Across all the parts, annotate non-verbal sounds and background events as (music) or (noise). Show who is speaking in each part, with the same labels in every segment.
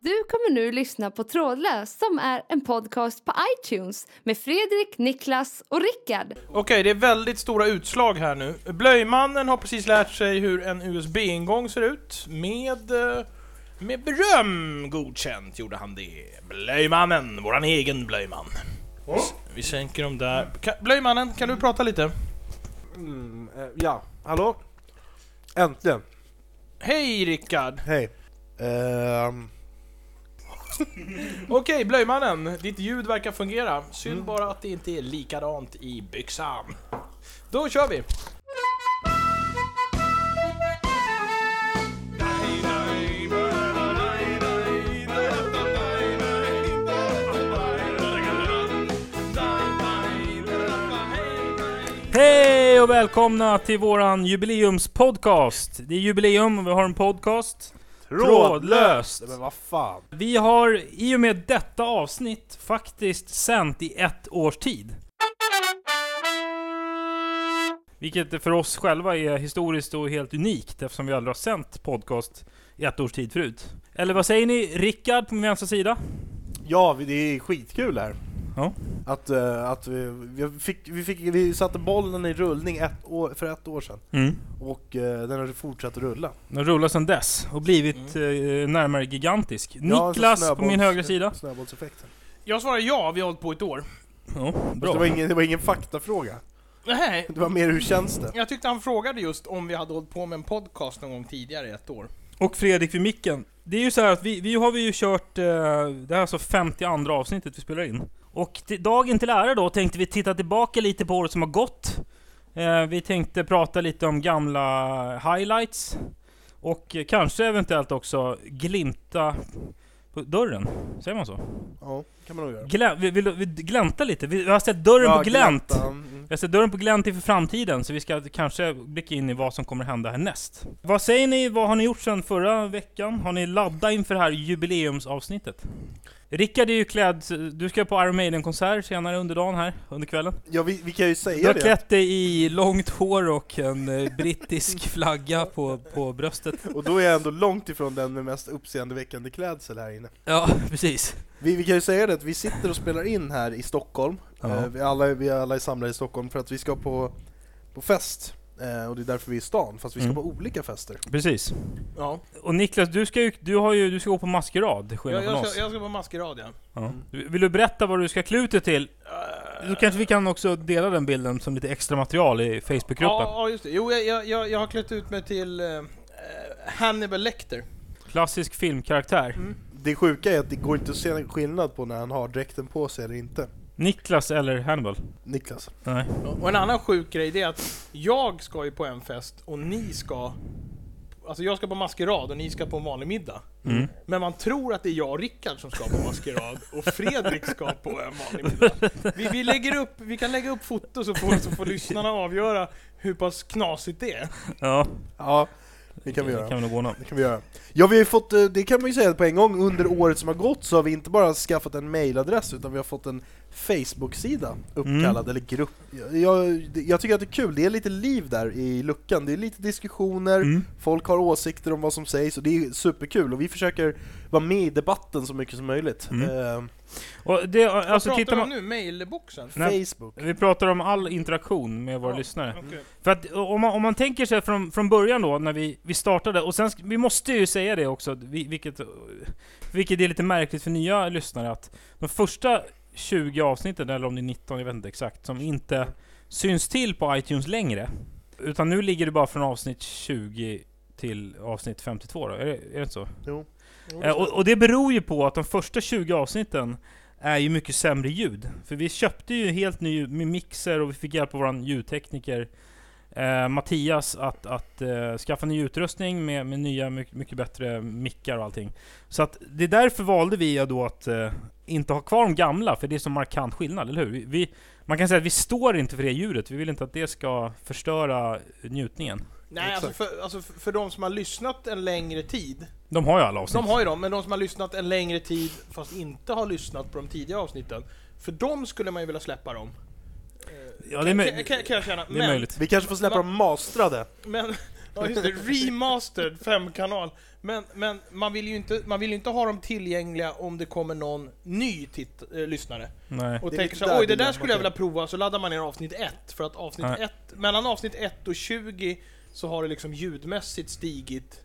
Speaker 1: Du kommer nu lyssna på Trådlös som är en podcast på iTunes med Fredrik, Niklas och Rickard.
Speaker 2: Okej, det är väldigt stora utslag här nu. Blöjmannen har precis lärt sig hur en USB-ingång ser ut. Med, eh, med beröm godkänt gjorde han det. Blöjmannen, våran egen blöjman. S- Vi sänker dem där. Ka- Blöjmannen, kan du prata lite?
Speaker 3: Mm, eh, ja, hallå? Äntligen.
Speaker 2: Hej Rickard!
Speaker 3: Hej. Ehm,
Speaker 2: Okej, Blöjmannen, ditt ljud verkar fungera. Synd bara att det inte är likadant i byxan. Då kör vi!
Speaker 4: Hej och välkomna till våran jubileumspodcast. Det är jubileum och vi har en podcast. Trådlöst.
Speaker 3: Men vad fan.
Speaker 4: Vi har i och med detta avsnitt faktiskt sänt i ett års tid. Vilket för oss själva är historiskt och helt unikt eftersom vi aldrig har sänt podcast i ett års tid förut. Eller vad säger ni? Rickard på min vänstra sida?
Speaker 3: Ja, vi- det är skitkul här.
Speaker 4: Ja.
Speaker 3: Att, eh, att vi, vi, fick, vi, fick, vi satte bollen i rullning ett år, för ett år sedan.
Speaker 4: Mm.
Speaker 3: Och eh, den har fortsatt rulla.
Speaker 4: Den rullar sedan dess och blivit eh, närmare gigantisk.
Speaker 3: Mm. Ja,
Speaker 4: Niklas på
Speaker 3: snöbolls-
Speaker 4: min högra sida.
Speaker 3: Snöbollseffekten.
Speaker 2: Jag svarar ja, vi har hållit på ett år.
Speaker 4: Ja,
Speaker 3: Fast Det var,
Speaker 4: bra.
Speaker 3: ingen, det var ingen faktafråga.
Speaker 2: Nej,
Speaker 3: Det var mer hur känns det?
Speaker 2: Jag tyckte han frågade just om vi hade hållit på med en podcast någon gång tidigare i ett år.
Speaker 4: Och Fredrik vid micken. Det är ju så här att vi, vi har vi ju kört, eh, det här är alltså 52 avsnittet vi spelar in. Och till, dagen till ära då tänkte vi titta tillbaka lite på året som har gått. Eh, vi tänkte prata lite om gamla highlights. Och eh, kanske eventuellt också glimta på dörren. Säger man så?
Speaker 3: Ja, kan man nog göra.
Speaker 4: Glä, vi, vill, vi glänta lite. Vi, vi har sett dörren på glänt.
Speaker 3: gläntan.
Speaker 4: Vi har sett dörren på glänt inför framtiden, så vi ska kanske blicka in i vad som kommer hända härnäst. Vad säger ni? Vad har ni gjort sedan förra veckan? Har ni laddat inför det här jubileumsavsnittet? Rickard är ju klädd, du ska på Iron Maiden-konsert senare under dagen här, under kvällen.
Speaker 3: Ja, vi, vi kan ju säga
Speaker 4: Du har
Speaker 3: det.
Speaker 4: klätt dig i långt hår och en eh, brittisk (laughs) flagga på, på bröstet.
Speaker 3: Och då är jag ändå långt ifrån den med mest uppseendeväckande klädsel här inne.
Speaker 4: Ja, precis.
Speaker 3: Vi, vi kan ju säga det att vi sitter och spelar in här i Stockholm.
Speaker 4: Ja.
Speaker 3: Eh, vi, alla, vi alla är samlade i Stockholm för att vi ska på, på fest. Eh, och det är därför vi är i stan, fast vi ska
Speaker 4: Mm.
Speaker 3: på olika fester.
Speaker 4: Precis.
Speaker 2: Ja,
Speaker 4: Och Niklas, du ska ju, du har ju, du ska gå på maskerad, till
Speaker 2: jag,
Speaker 4: skillnad från
Speaker 2: jag, ska,
Speaker 4: oss.
Speaker 2: jag ska på maskerad ja.
Speaker 4: Ja. Vill du berätta vad du ska kluta till? Då kanske vi kan också dela den bilden som lite extra material i
Speaker 2: Ja,
Speaker 4: Facebookgruppen.
Speaker 2: ja, just det. Jo, jag- jag, jag, jag har klätt ut mig till eh, Hannibal Lecter.
Speaker 4: Klassisk filmkaraktär.
Speaker 3: Det sjuka är att det går inte att se en skillnad på när han har dräkten på sig eller inte.
Speaker 4: Niklas eller Hannibal?
Speaker 3: Niklas.
Speaker 4: Nej.
Speaker 2: Och en annan sjuk grej det är att jag ska ju på en fest och ni ska... Alltså jag ska på maskerad och ni ska på en vanlig middag.
Speaker 4: Mm.
Speaker 2: Men man tror att det är jag och Rickard som ska på maskerad och Fredrik ska på en vanlig middag. Vi, vi, lägger upp, vi kan lägga upp foto så får, så får lyssnarna avgöra hur pass knasigt det är.
Speaker 4: Ja,
Speaker 3: Ja, det kan vi
Speaker 4: det
Speaker 3: göra.
Speaker 4: kan vi nog ordna.
Speaker 3: Det kan vi göra. Ja, vi har ju fått, eh, det kan man ju säga på en gång, under året som har gått så har vi inte bara skaffat en mailadress utan vi har fått en Facebook-sida uppkallad,
Speaker 4: Mm.
Speaker 3: eller grupp. Jag, jag tycker att det är kul, det är lite liv där i luckan, det är lite diskussioner,
Speaker 4: Mm.
Speaker 3: folk har åsikter om vad som sägs och det är superkul och vi försöker vara med i debatten så mycket som möjligt.
Speaker 4: Mm.
Speaker 3: Eh,
Speaker 4: Och det, alltså
Speaker 2: Vad pratar
Speaker 4: tittar
Speaker 2: du om
Speaker 4: man...
Speaker 2: nu? Mailboxen?
Speaker 4: Nej.
Speaker 3: Facebook.
Speaker 4: Vi pratar om all interaktion med våra
Speaker 2: Ja,
Speaker 4: lyssnare.
Speaker 2: Okej.
Speaker 4: För att om man, om man tänker sig från, från början då, när vi, vi startade, och sen, sk- vi måste ju säga det också, vi- vilket, vilket är lite märkligt för nya lyssnare, att de första 20 avsnitten, eller om det är 19, jag vet inte exakt, som inte syns till på iTunes längre, utan nu ligger det bara från avsnitt 20 till avsnitt 52 då, är det, är det inte så?
Speaker 3: Jo.
Speaker 2: Jo,
Speaker 4: Eh, och, och det beror ju på att de första 20 avsnitten är ju mycket sämre ljud. För vi köpte ju helt ny ljud- med mixer och vi fick hjälp av vår ljudtekniker eh, Mattias att, att eh, skaffa ny utrustning med, med nya, mycket, mycket bättre mickar och allting. Så att det är därför valde vi ju då att eh, inte ha kvar de gamla, för det är så markant skillnad, eller hur? Vi, vi, man kan säga att vi står inte för det ljudet, vi vill inte att det ska förstöra njutningen.
Speaker 2: Nej, alltså
Speaker 3: Exakt.
Speaker 2: för, alltså för- för de som har lyssnat en längre tid.
Speaker 4: De har ju alla avsnitt.
Speaker 2: De har ju dem, men de som har lyssnat en längre tid fast inte har lyssnat på de tidiga avsnitten. För dem skulle man ju vilja släppa dem.
Speaker 4: ja, det är, möj-
Speaker 2: Kan, kan, kan jag känna.
Speaker 4: det är
Speaker 2: men,
Speaker 4: möjligt.
Speaker 3: Vi kanske får släppa dem mastrade.
Speaker 2: men, (laughs) Ja, just det. Remastered femkanal. Men, men man, vill ju inte, man vill ju inte ha dem tillgängliga om det kommer någon ny titt, eh, lyssnare.
Speaker 4: Nej.
Speaker 2: Och
Speaker 3: Det är
Speaker 2: tänker
Speaker 3: lite
Speaker 2: så
Speaker 3: där
Speaker 2: här, oj det där
Speaker 3: dilemmat
Speaker 2: skulle jag
Speaker 3: är."
Speaker 2: vilja prova, så laddar man ner avsnitt 1. För att avsnitt
Speaker 4: Nej.
Speaker 2: ett, mellan avsnitt 1 och 20 så har det liksom ljudmässigt stigit.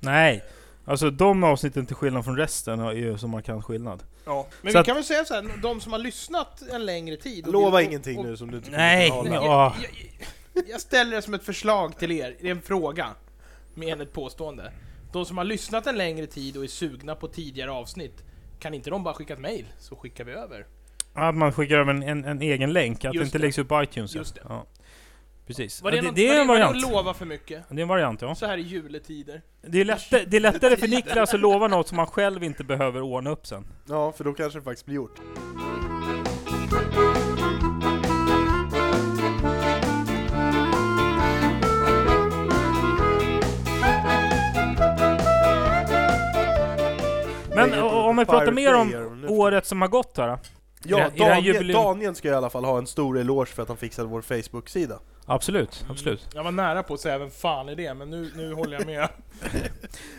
Speaker 4: Nej. Alltså de avsnitten till skillnad från resten är ju som man kan skillnad.
Speaker 2: Ja. Men
Speaker 4: Så
Speaker 2: vi
Speaker 4: att-
Speaker 2: kan väl säga så här, de som har lyssnat en längre tid. och
Speaker 3: Lova
Speaker 2: vill-
Speaker 3: ingenting
Speaker 2: och-
Speaker 3: nu som du inte
Speaker 4: Nej,
Speaker 3: kommer
Speaker 2: Nej,
Speaker 3: kunna
Speaker 4: men-
Speaker 3: hålla.
Speaker 2: jag,
Speaker 4: åh.
Speaker 2: jag, jag ställer det som ett förslag till er, det är en fråga. Med ett påstående. De som har lyssnat en längre tid och är sugna på tidigare avsnitt, kan inte de bara skicka ett mail så skickar vi över?
Speaker 4: Att man skickar över en, en, en egen länk, att det
Speaker 2: Just
Speaker 4: inte
Speaker 2: det.
Speaker 4: läggs upp på iTunes. ja.
Speaker 2: Just det.
Speaker 4: Ja. Precis.
Speaker 2: Var
Speaker 4: ja,
Speaker 2: det,
Speaker 4: det,
Speaker 2: något,
Speaker 4: det är en
Speaker 2: var det, var
Speaker 4: variant.
Speaker 2: det att lova för mycket?
Speaker 4: Det är en variant ja.
Speaker 2: Så här i juletider.
Speaker 4: Det är, lättare, det är lättare för Niklas att lova något som han själv inte behöver ordna upp sen.
Speaker 3: Ja, för då kanske det faktiskt blir gjort.
Speaker 4: Men
Speaker 3: Lägger upp
Speaker 4: o- om vi pratar mer
Speaker 3: Fireplayer
Speaker 4: om
Speaker 3: nu.
Speaker 4: året som har gått här. då? I
Speaker 3: Ja,
Speaker 4: det- i det här
Speaker 3: Daniel,
Speaker 4: jubileum-
Speaker 3: Daniel ska i alla fall ha en stor eloge för att han fixade vår Facebook-sida.
Speaker 4: Absolut, Mm. absolut.
Speaker 2: Jag var nära på att säga vem fan är det, men nu, nu håller jag
Speaker 4: (laughs)
Speaker 2: med.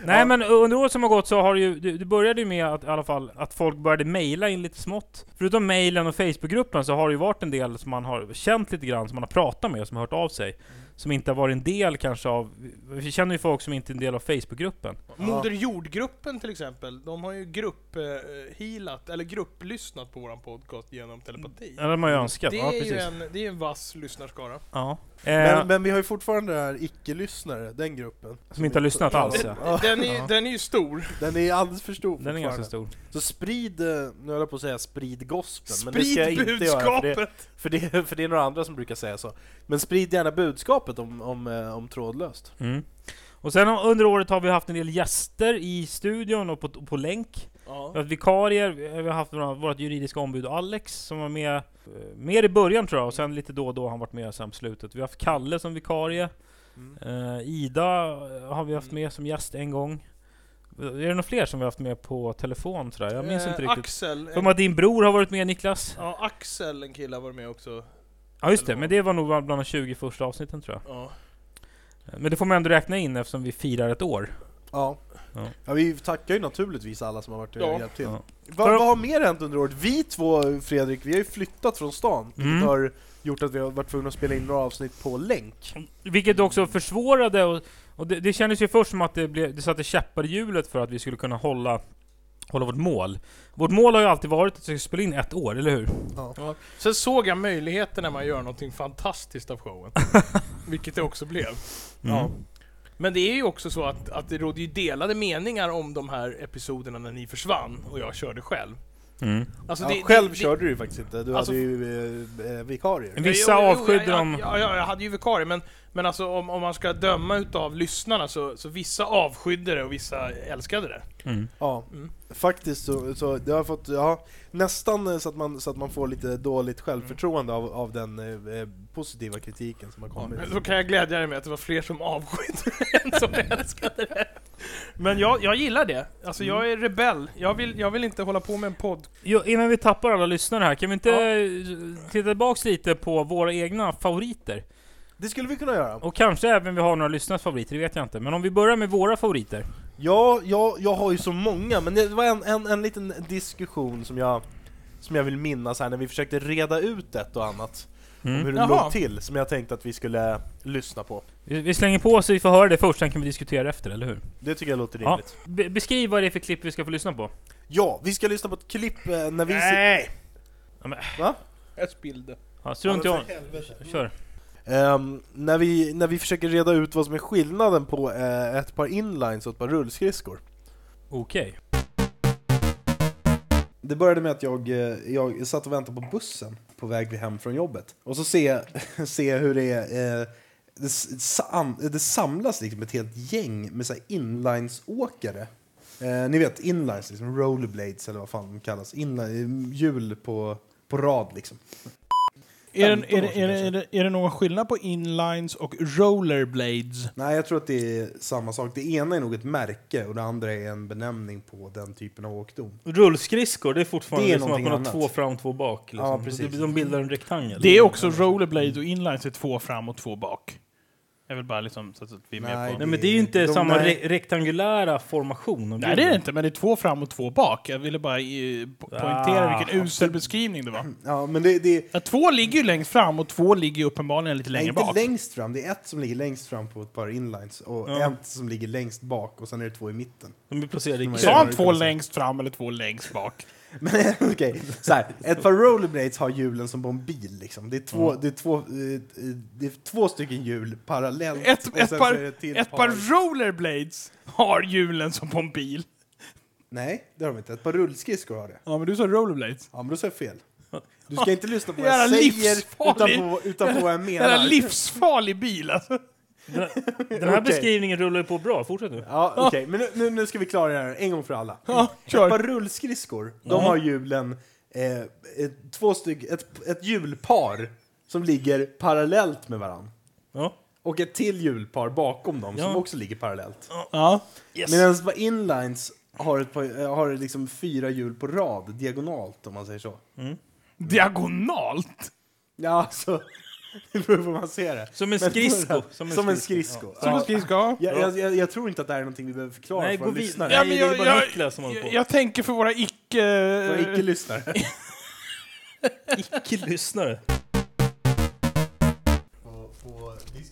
Speaker 4: Nej men under året som har gått så har det ju, det, det började ju med att, i alla fall, att folk började mejla in lite smått. Förutom mejlen och Facebookgruppen så har det ju varit en del som man har känt lite grann, som man har pratat med, som har hört av sig.
Speaker 2: Mm.
Speaker 4: Som inte har varit en del kanske av, vi känner ju folk som inte är en del av Facebookgruppen.
Speaker 2: Moder Jordgruppen till exempel, de har ju grupphealat, eller grupplyssnat på våran podcast genom telepati.
Speaker 4: Eller man har ju önskat,
Speaker 2: Mm. Det
Speaker 4: ja
Speaker 2: är ju
Speaker 4: precis.
Speaker 2: en, det är en vass lyssnarskara.
Speaker 4: Ja. Eh,
Speaker 3: Men, men vi har ju fortfarande den här icke-lyssnare, den gruppen.
Speaker 4: som inte har lyssnat alls (laughs) ja.
Speaker 3: Ja,
Speaker 2: Den är,
Speaker 4: Ja.
Speaker 2: ju- den är ju stor.
Speaker 3: Den är alldeles för stor
Speaker 4: Den är ganska
Speaker 3: fortfarande. Så
Speaker 4: stor.
Speaker 3: sprid, eh, nu höll jag på att säga sprid gospeln, men det ska jag
Speaker 2: Sprid
Speaker 3: inte göra för det,
Speaker 2: budskapet!
Speaker 3: för, det, för det är några andra som brukar säga så. Men sprid gärna budskapet om, om, eh, om trådlöst.
Speaker 4: Mm. Och sen under året har vi haft en del gäster i studion och på, på länk.
Speaker 2: Ja.
Speaker 4: Vi har haft vikarier, vi har haft våra- vårt juridiska ombud Alex som var med, eh, mer i början tror jag, och sen lite då och då har han varit med sen på slutet. Vi har haft Kalle som vikarie,
Speaker 3: Mm.
Speaker 4: eh, Ida eh, har vi haft
Speaker 2: Mm.
Speaker 4: med som gäst en gång. Är det några fler som vi har haft med på telefon tror jag? Jag minns
Speaker 2: Eh,
Speaker 4: inte riktigt.
Speaker 2: Axel,
Speaker 4: För
Speaker 2: en,
Speaker 4: att din bror har varit med Niklas?
Speaker 2: ja, Axel, en kille, var med också.
Speaker 4: Ja just det, men det var nog bland de 20 första avsnitten tror jag.
Speaker 2: Ja.
Speaker 4: Men det får man ändå räkna in eftersom vi firar ett år.
Speaker 3: Ja.
Speaker 4: Ja.
Speaker 3: ja, vi tackar ju naturligtvis alla som har varit och
Speaker 2: Ja.
Speaker 3: hjälpt till.
Speaker 4: Ja.
Speaker 3: Vad, vad har mer hänt under året? Vi två, Fredrik, vi har ju flyttat från stan, vilket
Speaker 4: Mm.
Speaker 3: har gjort att vi har varit tvungna att spela in några avsnitt på länk.
Speaker 2: Alltså,
Speaker 4: Vilket också försvårade och, och det, det kändes ju först som att det, blev, det satte käppar i hjulet för att vi skulle kunna hålla, hålla vårt mål. Vårt mål har ju alltid varit att vi ska spela in ett år, eller hur?
Speaker 2: Sen såg jag möjligheten när man gör någonting fantastiskt av showen. Vilket det också blev.
Speaker 4: Ja.
Speaker 2: Men det är ju också så att, att det rådde ju delade meningar om de här episoderna när ni försvann och jag körde själv.
Speaker 4: Mm.
Speaker 2: Alltså
Speaker 3: ja,
Speaker 2: det- det-
Speaker 3: själv
Speaker 2: det-
Speaker 3: körde du ju faktiskt inte, du
Speaker 2: Alltså-
Speaker 3: hade ju eh, eh, vikarier.
Speaker 4: Vissa
Speaker 2: Jo, jo, jo,
Speaker 4: avskydde
Speaker 2: jag,
Speaker 4: dem.
Speaker 2: Jag, jag, jag hade ju vikarie, men, men alltså om, om man ska döma utav lyssnarna så, så vissa avskydde det och vissa älskade det.
Speaker 4: Mm.
Speaker 3: Ja,
Speaker 2: Mm.
Speaker 3: faktiskt så, så det har fått, ja, nästan eh, så att, man, så att man får lite dåligt självförtroende av, av den eh, eh, positiva kritiken som har kommit.
Speaker 2: Men Då kan jag glädja dig med att det var fler som avskydde det (laughs) än som älskade det. Men jag, jag gillar det. Alltså jag är rebell. Jag vill, jag vill inte hålla på med en podd.
Speaker 4: Jo, innan vi tappar alla lyssnare här, kan vi inte eh, titta tillbaks lite på våra egna favoriter?
Speaker 3: Det skulle vi kunna göra.
Speaker 4: Och kanske även vi har några lyssnares favoriter, det vet jag inte. Men om vi börjar med våra favoriter.
Speaker 3: Ja, ja, jag har ju så många, men det var en, en, en liten diskussion som jag, som jag vill minnas här när vi försökte reda ut ett och annat
Speaker 4: Mm.
Speaker 3: om hur det
Speaker 2: Mm. Jaha.
Speaker 3: låg till, som jag tänkte att vi skulle lyssna på.
Speaker 4: Vi, vi slänger på så vi får höra det först, sen kan vi diskutera efter, eller hur?
Speaker 3: Det tycker jag låter
Speaker 4: Ja.
Speaker 3: rimligt. Ja,
Speaker 4: Be- beskriv vad det är för klipp vi ska få lyssna på.
Speaker 3: vi ska lyssna på ett klipp eh, när vi...
Speaker 2: Nej!
Speaker 4: Ja, men-
Speaker 3: Va?
Speaker 2: Jag spillde.
Speaker 4: Ja, strunt i
Speaker 3: Ja,
Speaker 4: honom.
Speaker 3: men
Speaker 4: Kör.
Speaker 3: Ehm, när, vi, när vi försöker reda ut vad som är skillnaden på eh, ett par inlines och ett par rullskridskor.
Speaker 4: Okej.
Speaker 3: Det började med att jag, eh, jag satt och väntade på bussen på väg hem från jobbet. Och så se, (laughs) se hur det är... eh, Det, s- sam, det samlas liksom ett helt gäng med så här inlinesåkare. Eh, ni vet inlines, liksom rollerblades eller vad fan de kallas. Inline, hjul på, på rad liksom.
Speaker 2: Är
Speaker 3: det- är det- är det- är
Speaker 2: någon skillnad på inlines och rollerblades?
Speaker 3: Nej, jag tror att det är samma sak. Det ena är nog ett märke och det andra är en benämning på den typen av åkdom.
Speaker 4: Rullskridskor, det är fortfarande
Speaker 3: Det är
Speaker 4: liksom att man har
Speaker 3: någonting
Speaker 4: två
Speaker 3: annat.
Speaker 4: fram, två bak. Liksom.
Speaker 3: Ja, precis.
Speaker 4: De, de bildar en rektangel.
Speaker 2: Det är också rollerblades och inlines är två fram och två bak. Jag vill bara liksom så att vi är
Speaker 3: Nej,
Speaker 2: med på...
Speaker 4: Nej men det är ju inte
Speaker 3: De
Speaker 4: samma
Speaker 3: där-
Speaker 4: re rektangulära formation.
Speaker 2: Nej,
Speaker 4: av
Speaker 2: det är det
Speaker 4: bilden.
Speaker 2: inte, men det är två fram och två bak. Jag ville bara eh, po- poängtera
Speaker 4: Ah.
Speaker 2: vilken usel beskrivning det var.
Speaker 3: Ja, men det, det
Speaker 2: Ja, två ligger ju längst fram och två ligger ju uppenbarligen lite
Speaker 3: Nej,
Speaker 2: längre
Speaker 3: inte
Speaker 2: bak.
Speaker 3: längst fram. Det är ett som ligger längst fram på ett par inlines och
Speaker 4: Ja.
Speaker 3: ett som ligger längst bak och sen är det två i mitten. (laughs)
Speaker 4: De är placerade i
Speaker 3: De är-
Speaker 2: Sa
Speaker 4: kö.
Speaker 2: han två längst fram eller två längst bak?
Speaker 3: Men okej, så här. Ett par rollerblades har hjulen som på en bil liksom. Det är två, det är två, eh, eh, det är två stycken hjul parallellt.
Speaker 2: Ett,
Speaker 3: och
Speaker 2: ett,
Speaker 3: sen
Speaker 2: par,
Speaker 3: så är det till
Speaker 2: ett par rollerblades har hjulen som på en bil.
Speaker 3: Nej, det har de inte. Ett par rullskridskor har det.
Speaker 2: Ja, men du sa rollerblades.
Speaker 3: Ja, men då sa jag fel. Du ska inte lyssna på vad
Speaker 2: Jävla
Speaker 3: jag säger
Speaker 2: livsfarlig.
Speaker 3: utan på, utan på vad jag menar.
Speaker 2: Jävla livsfarlig bil alltså.
Speaker 4: Den här, den
Speaker 3: Okej.
Speaker 4: här beskrivningen rullar ju på bra, fortsätt nu.
Speaker 3: Ja, okej, men nu- nu, nu ska vi klara det här en gång för alla.
Speaker 2: Ja,
Speaker 3: Ett
Speaker 2: kör.
Speaker 3: par rullskridskor, de har hjulen, eh, ett, två styck, ett, ett hjulpar som ligger parallellt med varann.
Speaker 4: Ja.
Speaker 3: Och ett till hjulpar bakom dem som
Speaker 4: Ja.
Speaker 3: också ligger parallellt.
Speaker 2: Ja.
Speaker 4: Yes.
Speaker 3: Medan på inlines har, ett par, eh, har liksom fyra hjul på rad, diagonalt om man säger så.
Speaker 2: Diagonalt.
Speaker 3: Ja, så (laughs) det beror på hur man ser det.
Speaker 4: Som en
Speaker 3: Men- (laughs)
Speaker 4: skridsko.
Speaker 3: Som, en skridsko.
Speaker 2: Som
Speaker 3: Ja.
Speaker 2: en skridska.
Speaker 3: Jag, jag, jag, jag tror inte att det här är någonting vi behöver förklara
Speaker 4: Nej,
Speaker 3: för
Speaker 4: gå
Speaker 3: våra
Speaker 4: vidare.
Speaker 3: lyssnare.
Speaker 2: Ja,
Speaker 4: Nej,
Speaker 2: men
Speaker 4: det
Speaker 2: jag-
Speaker 4: är bara
Speaker 2: jag-
Speaker 4: Niklas som håller
Speaker 2: Jag,
Speaker 4: på.
Speaker 2: jag tänker för våra icke...
Speaker 3: Våra icke-lyssnare.
Speaker 4: Icke-lyssnare.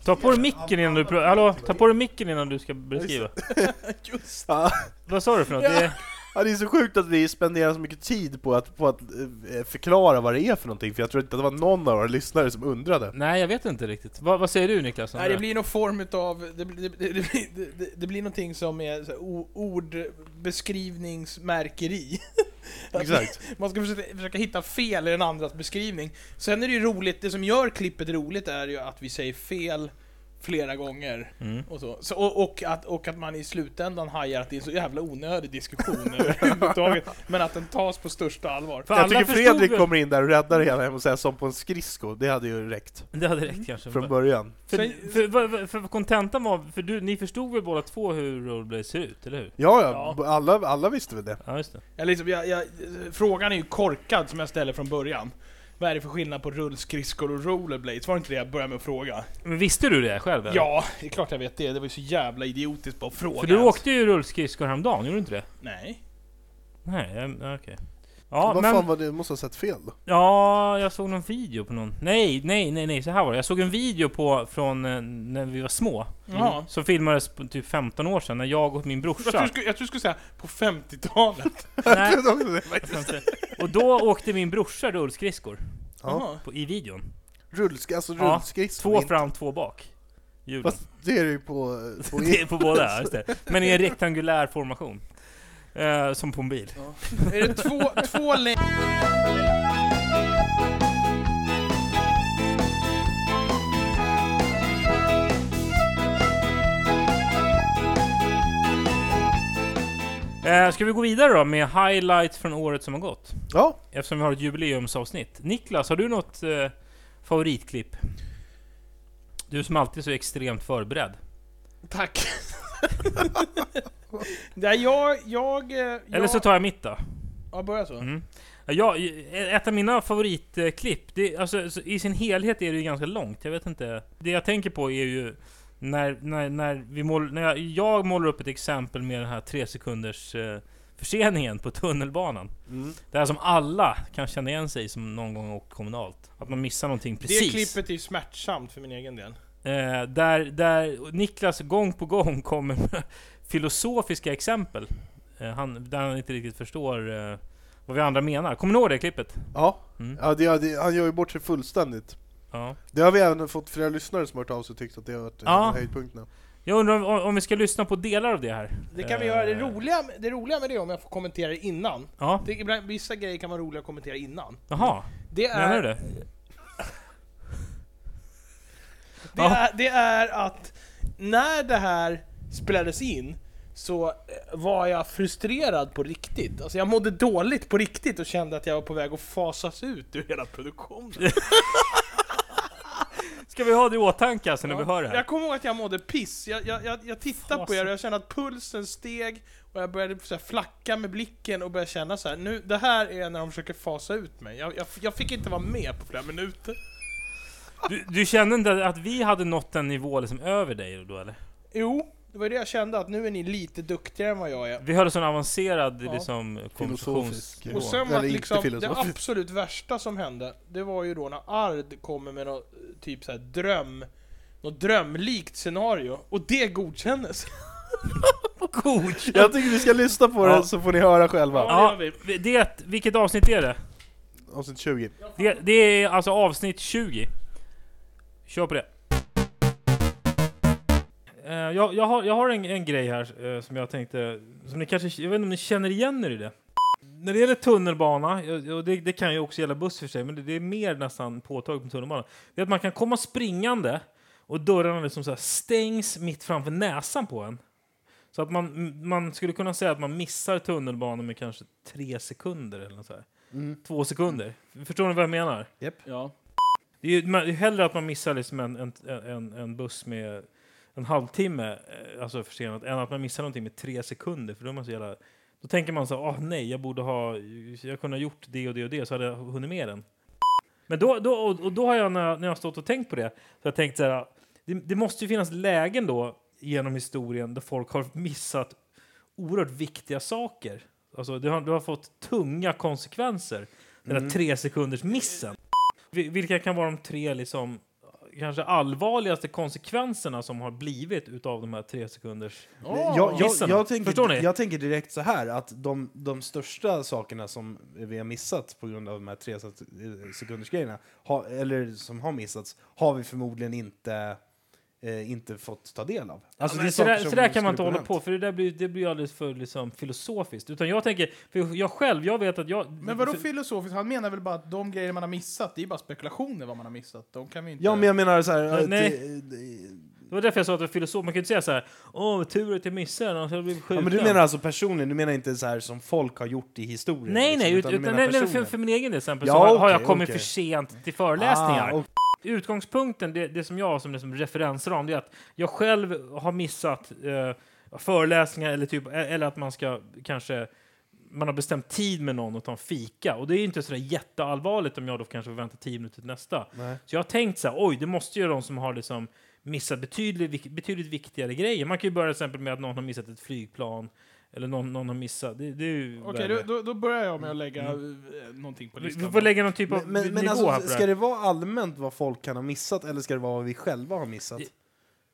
Speaker 4: Ta på dig micken innan du... pr- Hallå, ta på dig micken innan du ska beskriva.
Speaker 3: Ja. (laughs)
Speaker 4: Vad sa du för något? Det är...
Speaker 3: Ja, det är så sjukt att vi spenderar så mycket tid på att, på att eh, förklara vad det är för någonting, för jag tror inte att det var någon av våra lyssnare som
Speaker 4: (laughs)
Speaker 3: undrade.
Speaker 4: Nej, jag vet inte riktigt. Vad- vad säger du Niklas? om
Speaker 5: Nej,
Speaker 4: det
Speaker 5: det
Speaker 4: här?
Speaker 5: blir någon form av... Det, blir- det, det, blir- det, det, det blir någonting som är så här, o- ordbeskrivningsmärkeri.
Speaker 3: Exakt.
Speaker 5: Man ska försöka, försöka hitta fel i den andras beskrivning. Sen är det ju roligt, det som gör klippet roligt är ju att vi säger fel flera gånger.
Speaker 4: Mm.
Speaker 5: Och, så. Så, och, och, att, och att man i slutändan hajar att det är en så jävla onödig diskussion överhuvudtaget.
Speaker 4: (laughs)
Speaker 5: Men att den tas på största allvar.
Speaker 4: För alla
Speaker 3: jag tycker
Speaker 4: förstod
Speaker 3: Fredrik
Speaker 4: väl-
Speaker 3: kommer in där och räddar hela hem och säger som på en skridsko, det hade ju räckt
Speaker 4: (laughs) Det hade räckt kanske.
Speaker 3: från
Speaker 4: För,
Speaker 3: början.
Speaker 4: för, för, vad- vad- för kontentan var... För du, ni förstod väl båda två hur Rollerblades ser ut, eller hur?
Speaker 3: Ja, ja, b- alla, alla visste väl det.
Speaker 4: Ja, just det.
Speaker 5: Jag liksom, jag, jag, frågan är ju korkad som jag ställer från början. Vad är det för skillnad på rullskridskor och rollerblades? Var det inte det jag började med att fråga?
Speaker 4: Men visste du det själv? eller?
Speaker 5: Ja, det är klart jag vet det. Det var ju så jävla idiotiskt bara att fråga.
Speaker 4: För du
Speaker 5: ens.
Speaker 4: åkte ju rullskridskor häromdagen, gjorde du inte det?
Speaker 5: Nej.
Speaker 4: Nej, jag- ja, okej. Ja,
Speaker 3: vad
Speaker 4: men...
Speaker 3: fan var det? Du måste ha sett fel då.
Speaker 4: Ja, jag såg någon video på någon. Nej, nej, nej, nej, så här var det. Jag såg en video på från eh, när vi var små. Mm.
Speaker 5: Jaha.
Speaker 4: Som filmades på typ 15 år sedan när jag och min
Speaker 5: Jag tror,
Speaker 4: brorsa...
Speaker 5: du skulle, jag tror du skulle säga
Speaker 4: (laughs)
Speaker 5: på 50-talet.
Speaker 3: (laughs)
Speaker 4: nej,
Speaker 3: Ja.
Speaker 4: och då åkte min brorsa rullskridskor
Speaker 5: Jaha.
Speaker 4: på, i videon.
Speaker 3: Rullsk, alltså
Speaker 4: Ja,
Speaker 3: rullskridsko.
Speaker 4: Två
Speaker 3: inte-
Speaker 4: fram, två bak. Hjulen.
Speaker 3: Fast det är det ju på... på
Speaker 4: (laughs) Det är på båda, just det. Men i en rektangulär formation. Eh, som på en bil.
Speaker 5: är det två, två lä-
Speaker 4: Eh, ska vi gå vidare då med highlights från året som har gått?
Speaker 3: ja,
Speaker 4: Eftersom vi har ett jubileumsavsnitt. Niklas, har du något eh, favoritklipp? Du som alltid är så extremt förberedd. (laughs)
Speaker 5: Tack. Nej, jag... jag, eh, jag
Speaker 4: Eller så tar jag mitt då.
Speaker 5: Ja, börja så.
Speaker 4: Mm. Ja, e-, ett av mina favoritklipp, det, alltså, så i sin helhet är det ju ganska långt. Jag vet inte. Det jag tänker på är ju när, när, när, vi mål, när jag, jag målar upp ett exempel med den här tre sekunders eh, förseningen på tunnelbanan.
Speaker 3: Mm.
Speaker 4: Det här som alla kan känna igen sig som någon gång åkt kommunalt. Att man missar någonting precis.
Speaker 5: Det klippet är ju smärtsamt för min egen del.
Speaker 4: Eh, där, där Niklas gång på gång kommer med (laughs) filosofiska exempel. Eh, han, där han inte riktigt förstår eh, vad vi andra menar. Kommer ni ihåg det klippet?
Speaker 3: ja.
Speaker 4: Mm.
Speaker 3: ja det, det, han gör ju bort sig fullständigt.
Speaker 4: Ja.
Speaker 3: Det har vi även fått flera lyssnare som har hört av sig och tyckt att det har varit
Speaker 4: Ja.
Speaker 3: ja. höjdpunkterna.
Speaker 4: Jag undrar om, om vi ska lyssna på delar av det här?
Speaker 5: Det kan vi
Speaker 4: Eh,
Speaker 5: göra. Det roliga, det roliga med det, om jag får kommentera det innan.
Speaker 4: Ja,
Speaker 5: Det, ibland, vissa grejer kan vara roliga att kommentera innan.
Speaker 4: jaha.
Speaker 5: Det är...
Speaker 4: Menar du det?
Speaker 5: Det,
Speaker 4: Ja.
Speaker 5: är, det är att när det här spelades in så eh, var jag frustrerad på riktigt. Alltså jag mådde dåligt på riktigt och kände att jag var på väg att fasas ut ur hela produktionen.
Speaker 4: Ska vi ha det i åtanke alltså när vi hör det här?
Speaker 5: Jag kommer ihåg att jag mådde piss. Jag, jag, jag, jag tittade på er och jag kände att pulsen steg och jag började så här flacka med blicken och började känna så här, nu det här är när de försöker fasa ut mig. Jag, jag, jag fick inte vara med på flera minuter.
Speaker 4: Du, du kände inte att vi hade nått en nivå liksom över dig då eller?
Speaker 5: Jo, det var det jag kände, att nu är ni lite duktigare än vad jag är.
Speaker 4: Vi hade sån avancerad
Speaker 5: Ja.
Speaker 4: liksom
Speaker 6: Filosofisk.
Speaker 4: konversations-
Speaker 5: Och sen
Speaker 6: Eller
Speaker 5: var
Speaker 6: inte
Speaker 5: liksom, det
Speaker 6: filosofiskt.
Speaker 5: absolut värsta som hände, det var ju då när Ard kommer med något typ så här dröm, något drömlikt scenario, och det godkändes.
Speaker 6: Jag tycker vi ska lyssna på
Speaker 4: Ja.
Speaker 6: det så får ni höra själva.
Speaker 4: Ja,
Speaker 5: det gör
Speaker 4: det, vilket avsnitt är det?
Speaker 6: Avsnitt 20.
Speaker 4: det? Det är alltså avsnitt 20. Kör på det. Eh, Jag, jag har, jag har en, en grej här eh, som jag tänkte, som ni kanske, jag vet inte om ni känner igen er i det. När det gäller tunnelbana, eh, och det, det kan ju också gälla buss för sig, men det, det är mer nästan påtagligt med tunnelbana. Det är att man kan komma springande och dörrarna liksom så här stängs mitt framför näsan på en. Så att man, man skulle kunna säga att man missar tunnelbanan med kanske tre sekunder eller något så här. Två sekunder. Förstår ni vad jag menar?
Speaker 2: Ja.
Speaker 4: Det är ju man, det är hellre att man missar liksom en, en, en, en buss med en halvtimme eh, alltså försenat än att man missar någonting med tre sekunder. För då, är man så jävla, då tänker man så här, ah, nej, jag borde ha, jag kunde ha gjort det och det och det så hade jag hunnit med den. Men då, då, och, och då har jag, när jag, när jag har stått och tänkt på det, så har jag tänkt så här, det, det måste ju finnas lägen då genom historien där folk har missat oerhört viktiga saker. Alltså, det har, det har fått tunga konsekvenser, den
Speaker 3: Mm.
Speaker 4: där tre sekunders missen. Vi- Vilka kan vara de tre liksom, kanske allvarligaste konsekvenserna som har blivit utav de här tre sekunders...
Speaker 5: jag,
Speaker 3: jag, jag,
Speaker 4: Gissarna.
Speaker 3: jag, tänker,
Speaker 4: Förstår ni?
Speaker 3: jag tänker direkt så här att de, de största sakerna som vi har missat på grund av de här tre sek- sekundersgrejerna, ha, eller som har missats, har vi förmodligen inte, eh, inte fått ta del av. Alltså, det
Speaker 4: Ja,
Speaker 3: är
Speaker 4: men så,
Speaker 3: saker
Speaker 4: där,
Speaker 3: som
Speaker 4: så där kan man
Speaker 3: skulle
Speaker 4: inte hålla
Speaker 3: hänt.
Speaker 4: på, för det där blir, det blir alldeles för liksom, filosofiskt. Utan jag tänker, för jag själv, jag vet att jag...
Speaker 2: Men vadå filosofiskt? Han menar väl bara att de grejer man har missat, det är bara spekulationer vad man har missat. De kan vi inte...
Speaker 3: Ja, men jag menar så här...
Speaker 4: Nej,
Speaker 3: att eh,
Speaker 4: nej.
Speaker 3: det- det-
Speaker 4: Det var därför jag sa att det var filosof. Man kan ju inte säga så här, åh, tur att jag missade den, annars hade jag blivit
Speaker 3: Ja,
Speaker 4: skjuten.
Speaker 3: men du menar alltså personligen, du menar inte så här som folk har gjort i historien?
Speaker 4: Nej, nej,
Speaker 3: liksom,
Speaker 4: ut,
Speaker 3: du
Speaker 4: utan,
Speaker 3: menar
Speaker 4: nej, nej, för,
Speaker 3: personen.
Speaker 4: för min egen del exempel
Speaker 3: Ja,
Speaker 4: så har- har jag
Speaker 3: okej,
Speaker 4: kommit
Speaker 3: okej.
Speaker 4: för sent till föreläsningar.
Speaker 3: Ah, och-
Speaker 4: Utgångspunkten, det, det som jag har som liksom referensram, det är att jag själv har missat eh, föreläsningar eller, typ, e- eller att man ska kanske man har bestämt tid med någon och tar en fika. Och det är ju inte så där jätteallvarligt om jag då kanske får vänta tio minuter till nästa.
Speaker 3: Nej.
Speaker 4: Så jag har tänkt så här, oj, det måste ju de som har liksom missat betydligt, vik- betydligt viktigare grejer. Man kan ju börja till exempel med att någon har missat ett flygplan eller någon, någon har missat... Det, det är ju
Speaker 2: (laughs) Okej,
Speaker 4: värre.
Speaker 2: då, då, då börjar jag med att lägga
Speaker 5: Mm.
Speaker 2: eh, någonting på
Speaker 4: Vi
Speaker 2: listan.
Speaker 4: vi får lägga någon typ av
Speaker 3: Men, men,
Speaker 4: nivå
Speaker 3: men
Speaker 4: här
Speaker 3: alltså,
Speaker 4: på
Speaker 3: ska
Speaker 4: det
Speaker 3: det vara allmänt vad folk kan ha missat eller ska det vara vad vi själva har missat?
Speaker 4: Det-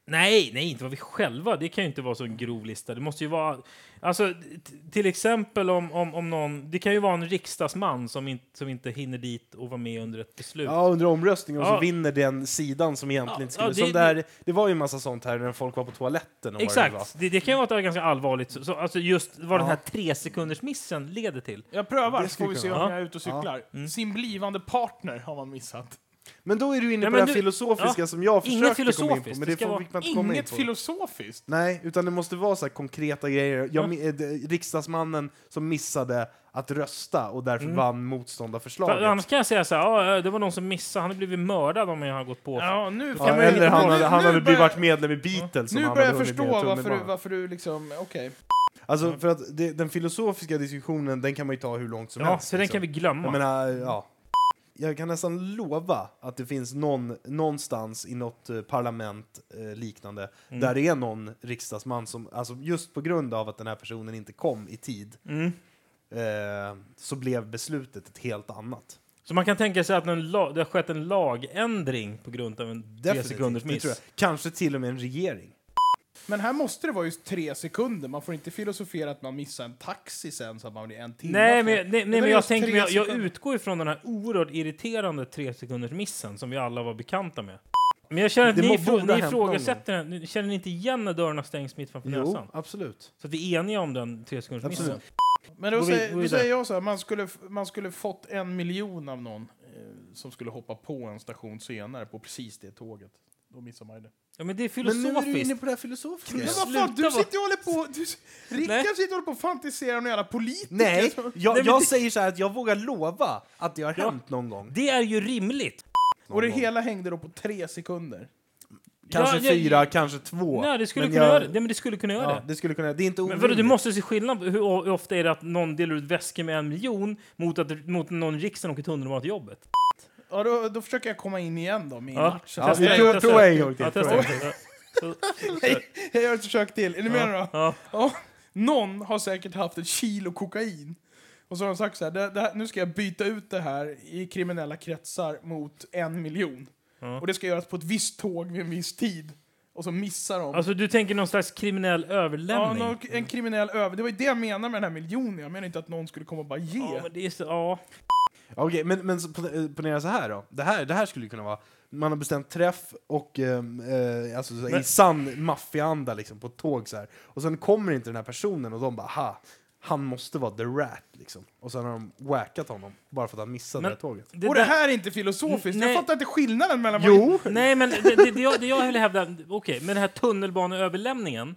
Speaker 4: Nej, nej, inte vad vi själva. Det kan ju inte vara så en grov lista. Det måste ju vara... Alltså, t- till exempel om, om, om någon... Det kan ju vara en riksdagsman som, in, som inte hinner dit och vara med under ett beslut.
Speaker 3: Ja, under omröstningen och så
Speaker 4: typ. Ja.
Speaker 3: vinner den sidan som egentligen inte
Speaker 4: Ja,
Speaker 3: skulle...
Speaker 4: ja,
Speaker 3: det, som
Speaker 4: det-
Speaker 3: där, det var ju en massa sånt här när folk var på toaletten och vad det var.
Speaker 4: Exakt. Det, det kan ju vara ett ganska allvarligt. Så, så, alltså just vad den här tre sekunders missen leder till.
Speaker 2: Jag prövar,
Speaker 3: Det
Speaker 2: så
Speaker 3: skulle
Speaker 2: får vi se
Speaker 3: kunna-
Speaker 2: om
Speaker 4: ja.
Speaker 2: jag är ute och cyklar.
Speaker 5: Mm.
Speaker 2: Sin blivande partner har man missat.
Speaker 3: Men då är du inne på
Speaker 4: Nej, men
Speaker 3: det här
Speaker 4: nu-
Speaker 3: filosofiska
Speaker 4: ja,
Speaker 3: som jag
Speaker 4: inget
Speaker 3: försökte komma in på,
Speaker 4: filosofiskt.
Speaker 3: men
Speaker 4: Det
Speaker 3: det
Speaker 4: ska
Speaker 3: får-
Speaker 4: vara
Speaker 3: fick man inte komma in
Speaker 2: Inget
Speaker 3: på.
Speaker 2: filosofiskt!
Speaker 3: Nej, utan det måste vara så här konkreta grejer. Jag,
Speaker 4: Ja.
Speaker 3: mi- eh, det- riksdagsmannen som missade att rösta och därför vann motståndarförslaget.
Speaker 4: Mm. För, annars kan jag säga så här, ja, det var någon som missade. Han har blivit mördad om jag har gått på.
Speaker 2: Ja, nu
Speaker 3: Ja,
Speaker 2: man ju-
Speaker 3: eller han
Speaker 2: nu-
Speaker 3: hade, han
Speaker 2: nu
Speaker 3: hade blivit
Speaker 2: börjar-
Speaker 3: varit medlem i Beatles. om
Speaker 2: Nu
Speaker 3: han
Speaker 2: börjar jag
Speaker 3: hade hunnit
Speaker 2: förstå
Speaker 3: med en
Speaker 2: varför du,
Speaker 3: tunnelbana.
Speaker 2: varför du liksom, okej.
Speaker 3: Alltså,
Speaker 4: Mm.
Speaker 3: för att det, den filosofiska diskussionen den kan man ju ta hur långt som
Speaker 4: Ja,
Speaker 3: helst.
Speaker 4: så den
Speaker 3: liksom.
Speaker 4: kan vi glömma.
Speaker 3: Jag menar, ja. Jag kan nästan lova att det finns någon, någonstans i något eh, parlament eh, liknande
Speaker 4: Mm.
Speaker 3: där det är någon riksdagsman som, alltså just på grund av att den här personen inte kom i tid
Speaker 4: Mm.
Speaker 3: eh, så blev beslutet ett helt annat.
Speaker 4: Så man kan tänka sig att en la- det har skett en lagändring på grund av en tre sekunders
Speaker 3: det
Speaker 4: miss.
Speaker 3: tror jag. Kanske till och med en regering.
Speaker 2: Men här måste det vara just tre sekunder, man får inte filosofera att man missar en taxi sen så att man blir en timme för-
Speaker 4: Nej, men, nej,
Speaker 2: Det
Speaker 4: nej,
Speaker 2: är
Speaker 4: men jag,
Speaker 2: just
Speaker 4: tänker,
Speaker 2: tre
Speaker 4: men jag, jag
Speaker 2: sekunder.
Speaker 4: utgår ifrån den här oerhört irriterande tre sekunders missen som vi alla var bekanta med. Men jag känner att
Speaker 3: Det
Speaker 4: ni,
Speaker 3: må-
Speaker 4: ifrå,
Speaker 3: borde
Speaker 4: ni
Speaker 3: ha hänt någon
Speaker 4: ifrågasätter den. Ni- Känner ni inte igen när dörrarna stängs mitt framför näsan?
Speaker 3: absolut.
Speaker 4: Så att vi är eniga om den tre sekunders missen.
Speaker 3: Absolut.
Speaker 2: Men då
Speaker 4: Gå vid-
Speaker 2: säger,
Speaker 4: gå
Speaker 2: då
Speaker 4: vidare.
Speaker 2: säger jag så här, man skulle, f- man skulle fått en miljon av någon eh, som skulle hoppa på en station senare på precis det tåget. Då missar man ju det.
Speaker 4: Ja, men det är
Speaker 3: Men nu är du inne
Speaker 4: filosofiskt.
Speaker 3: på det här filosofiska.
Speaker 2: Men
Speaker 4: Men
Speaker 2: vad
Speaker 4: sluta
Speaker 2: fan, du
Speaker 4: vara-
Speaker 2: sitter och håller på... Du, Rickard
Speaker 4: Nej.
Speaker 2: sitter och håller på och fantiserar om jävla (laughs) politiker.
Speaker 4: (laughs)
Speaker 3: Nej,
Speaker 2: som-
Speaker 3: jag,
Speaker 4: men
Speaker 3: jag
Speaker 4: det-
Speaker 3: säger så här att jag vågar lova att det har
Speaker 4: Ja.
Speaker 3: hänt någon gång.
Speaker 4: Det är ju rimligt.
Speaker 2: Och det
Speaker 3: gång.
Speaker 2: hela hängde då på tre sekunder.
Speaker 3: Kanske
Speaker 4: Ja, jag-
Speaker 3: fyra, kanske två.
Speaker 4: Nej, det skulle
Speaker 3: Men
Speaker 4: kunna
Speaker 3: jag-
Speaker 4: göra det. Nej, men det skulle kunna göra
Speaker 3: Ja,
Speaker 4: det.
Speaker 3: det skulle kunna... Det är inte
Speaker 4: Men
Speaker 3: orimligt.
Speaker 4: vadå, du måste se skillnad på hur, hur ofta är det att någon delar ut väskor med en miljon mot att mot någon riksdag åker tunnelbana till jobbet.
Speaker 2: Ja, då, då försöker jag komma in igen då med
Speaker 4: Ja,
Speaker 2: matchen.
Speaker 4: testa,
Speaker 3: vi provar-
Speaker 4: testa.
Speaker 3: provar en gång till,
Speaker 4: Ja, testa
Speaker 3: provar.
Speaker 4: en gång till.
Speaker 2: (laughs) Jag gör ett försök till. Är ni med nu då?
Speaker 4: Ja,
Speaker 2: Ja. Någon har säkert haft ett kilo kokain. Och så har de sagt så här, det, det här, nu ska jag byta ut det här i kriminella kretsar mot en miljon.
Speaker 4: Ja.
Speaker 2: Och det ska göras på ett visst tåg vid en viss tid. Och så missar de.
Speaker 4: Alltså du tänker någon slags kriminell
Speaker 2: ja,
Speaker 4: överlämning?
Speaker 2: någon, en kriminell över... Det var ju det jag menade med den här miljonen. Jag menar inte att någon skulle komma och bara ge.
Speaker 4: Ja, men det är så, ja.
Speaker 3: Okej, men, men så pone- eh, ponera så här då. Det här, det här skulle ju kunna vara... Man har bestämt träff och ehm, eh, alltså, så här, i
Speaker 4: Men-
Speaker 3: sann maffianda liksom, på ett tåg så här. Och sen kommer inte den här personen och de bara ha, han måste vara the rat liksom. Och sen har de wackat honom bara för att han missade
Speaker 4: Men-
Speaker 3: det här tåget.
Speaker 4: Det
Speaker 2: och det
Speaker 4: där-
Speaker 2: här är inte filosofiskt.
Speaker 4: Nej.
Speaker 2: Jag fattar inte skillnaden mellan... vad-
Speaker 3: Jo!
Speaker 4: Nej, men det, det, det, jag, det jag ville hävda, okej, men den här tunnelbaneöverlämningen,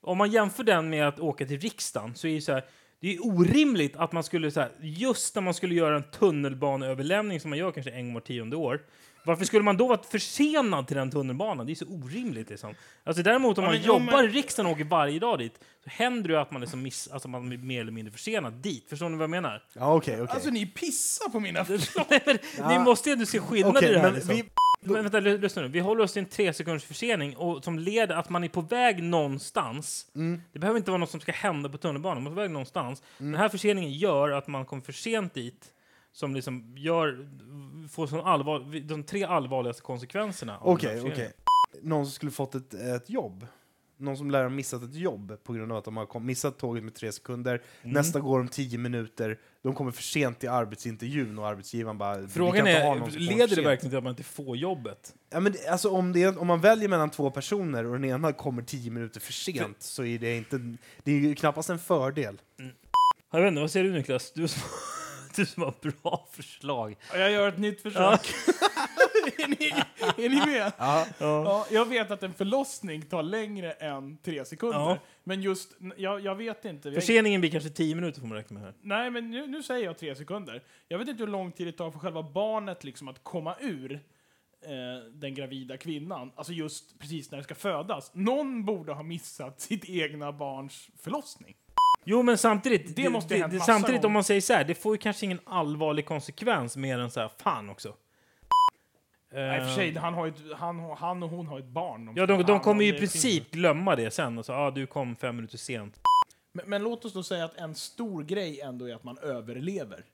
Speaker 4: om man jämför den med att åka till riksdagen så är det ju så här, det är orimligt att man skulle, så här, just när man skulle göra en tunnelbaneöverlämning som man gör kanske en gång var tionde år, varför skulle man då vara försenad till den tunnelbanan? Det är så orimligt liksom. Alltså däremot om
Speaker 2: Ja,
Speaker 4: man
Speaker 2: men- ja,
Speaker 4: jobbar
Speaker 2: men-
Speaker 4: i riksdagen och åker varje dag dit, så händer det ju att man, liksom miss, alltså, man blir mer eller mindre försenad dit. Förstår ni vad jag menar?
Speaker 3: Ja, okej, okej.
Speaker 2: Alltså ni pissar på mina...
Speaker 4: (laughs) Nej, men, Ni måste ju ändå se skillnad
Speaker 3: Okej,
Speaker 4: i det här.
Speaker 3: men
Speaker 4: liksom.
Speaker 3: vi-
Speaker 4: Men vänta, ly- lyssna nu. Vi håller oss till en tre sekunders försening och som leder att man är på väg någonstans.
Speaker 3: Mm.
Speaker 4: Det behöver inte vara något som ska hända på tunnelbanan. Man är på väg någonstans. Den här förseningen gör att man kommer för sent dit som liksom gör, får sån allvar, de tre allvarligaste konsekvenserna. av den
Speaker 3: Okej,
Speaker 4: här
Speaker 3: okej.
Speaker 4: förseningen.
Speaker 3: Någon som skulle fått ett, ett jobb. Någon som lär ha missat ett jobb på grund av att de har kom- missat tåget med tre sekunder.
Speaker 4: Mm.
Speaker 3: Nästa går om tio minuter. De kommer för sent till arbetsintervjun och arbetsgivaren bara... "Vi
Speaker 4: Frågan
Speaker 3: kan inte ha någon
Speaker 4: är,
Speaker 3: som kommer för
Speaker 4: leder det
Speaker 3: sent."
Speaker 4: verkligen till att man inte får jobbet?
Speaker 3: Ja, men, det- alltså, om, det är, om man väljer mellan två personer och den ena kommer tio minuter för sent så är det inte... Det är ju knappast en fördel.
Speaker 4: Jag vet inte, vad säger du Niklas? Du som, du som har (laughs) bra förslag.
Speaker 2: Jag gör ett nytt försök. är, ni, är ni med? Ja, jag vet att en förlossning tar längre än tre sekunder.
Speaker 4: Ja.
Speaker 2: Men just, jag, jag vet inte. Jag,
Speaker 4: Förseningen blir kanske tio minuter får man räkna med här.
Speaker 2: nej, men nu, nu säger jag tre sekunder. Jag vet inte hur lång tid det tar för själva barnet liksom att komma ur eh, den gravida kvinnan. Alltså just precis när det ska födas. Någon borde ha missat (laughs) sitt egna barns förlossning.
Speaker 4: Jo, men samtidigt,
Speaker 2: Det
Speaker 4: det
Speaker 2: måste
Speaker 4: det,
Speaker 2: ha hänt
Speaker 4: det,
Speaker 2: massa
Speaker 4: samtidigt
Speaker 2: gånger.
Speaker 4: om man säger så här, det får ju kanske ingen allvarlig konsekvens mer än så här, fan också.
Speaker 2: Nej, i och
Speaker 4: Eh,
Speaker 2: för sig, han, har ju ett, han, har- han och hon har ju ett barn.
Speaker 4: Ja,
Speaker 2: ska
Speaker 4: de,
Speaker 2: ta hand
Speaker 4: de
Speaker 2: om
Speaker 4: kommer ju
Speaker 2: det
Speaker 4: i
Speaker 2: finns-
Speaker 4: princip glömma det sen och så, ah, du kom fem minuter sent.
Speaker 2: Men, men låt oss då säga att en stor grej ändå är att man överlever.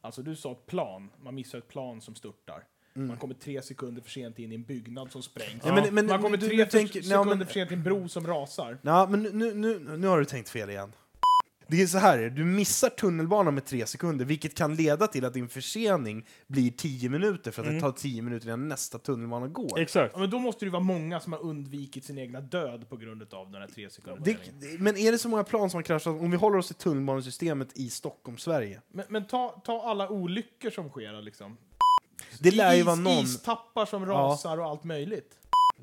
Speaker 2: Alltså du sa ett plan, man missar ett plan som störtar. Man kommer tre sekunder för sent in i en byggnad som sprängs.
Speaker 3: Mm. Ja, men- men
Speaker 2: man kommer
Speaker 3: du-
Speaker 2: tre
Speaker 3: du tänker- nej,
Speaker 2: sekunder
Speaker 3: men-
Speaker 2: för sent in i en bro som rasar.
Speaker 3: Ja, men nu, nu, nu, nu har du tänkt fel igen. Det är så här, du missar tunnelbanan med tre sekunder vilket kan leda till att din försening blir tio minuter för att
Speaker 4: Mm.
Speaker 3: det tar tio minuter innan nästa tunnelbana går.
Speaker 4: Exakt.
Speaker 2: Ja, men då måste det ju vara många som har undvikit sin egna död på grund av den här tre sekunder
Speaker 3: Det, men är det så många plan som har kraschat? Om vi håller oss till tunnelbanesystemet i Stockholm, Sverige.
Speaker 2: Men, men ta, ta alla olyckor som sker då, liksom.
Speaker 3: Det lär ju
Speaker 2: Is-
Speaker 3: vara någon...
Speaker 2: Istappar som rasar och allt möjligt.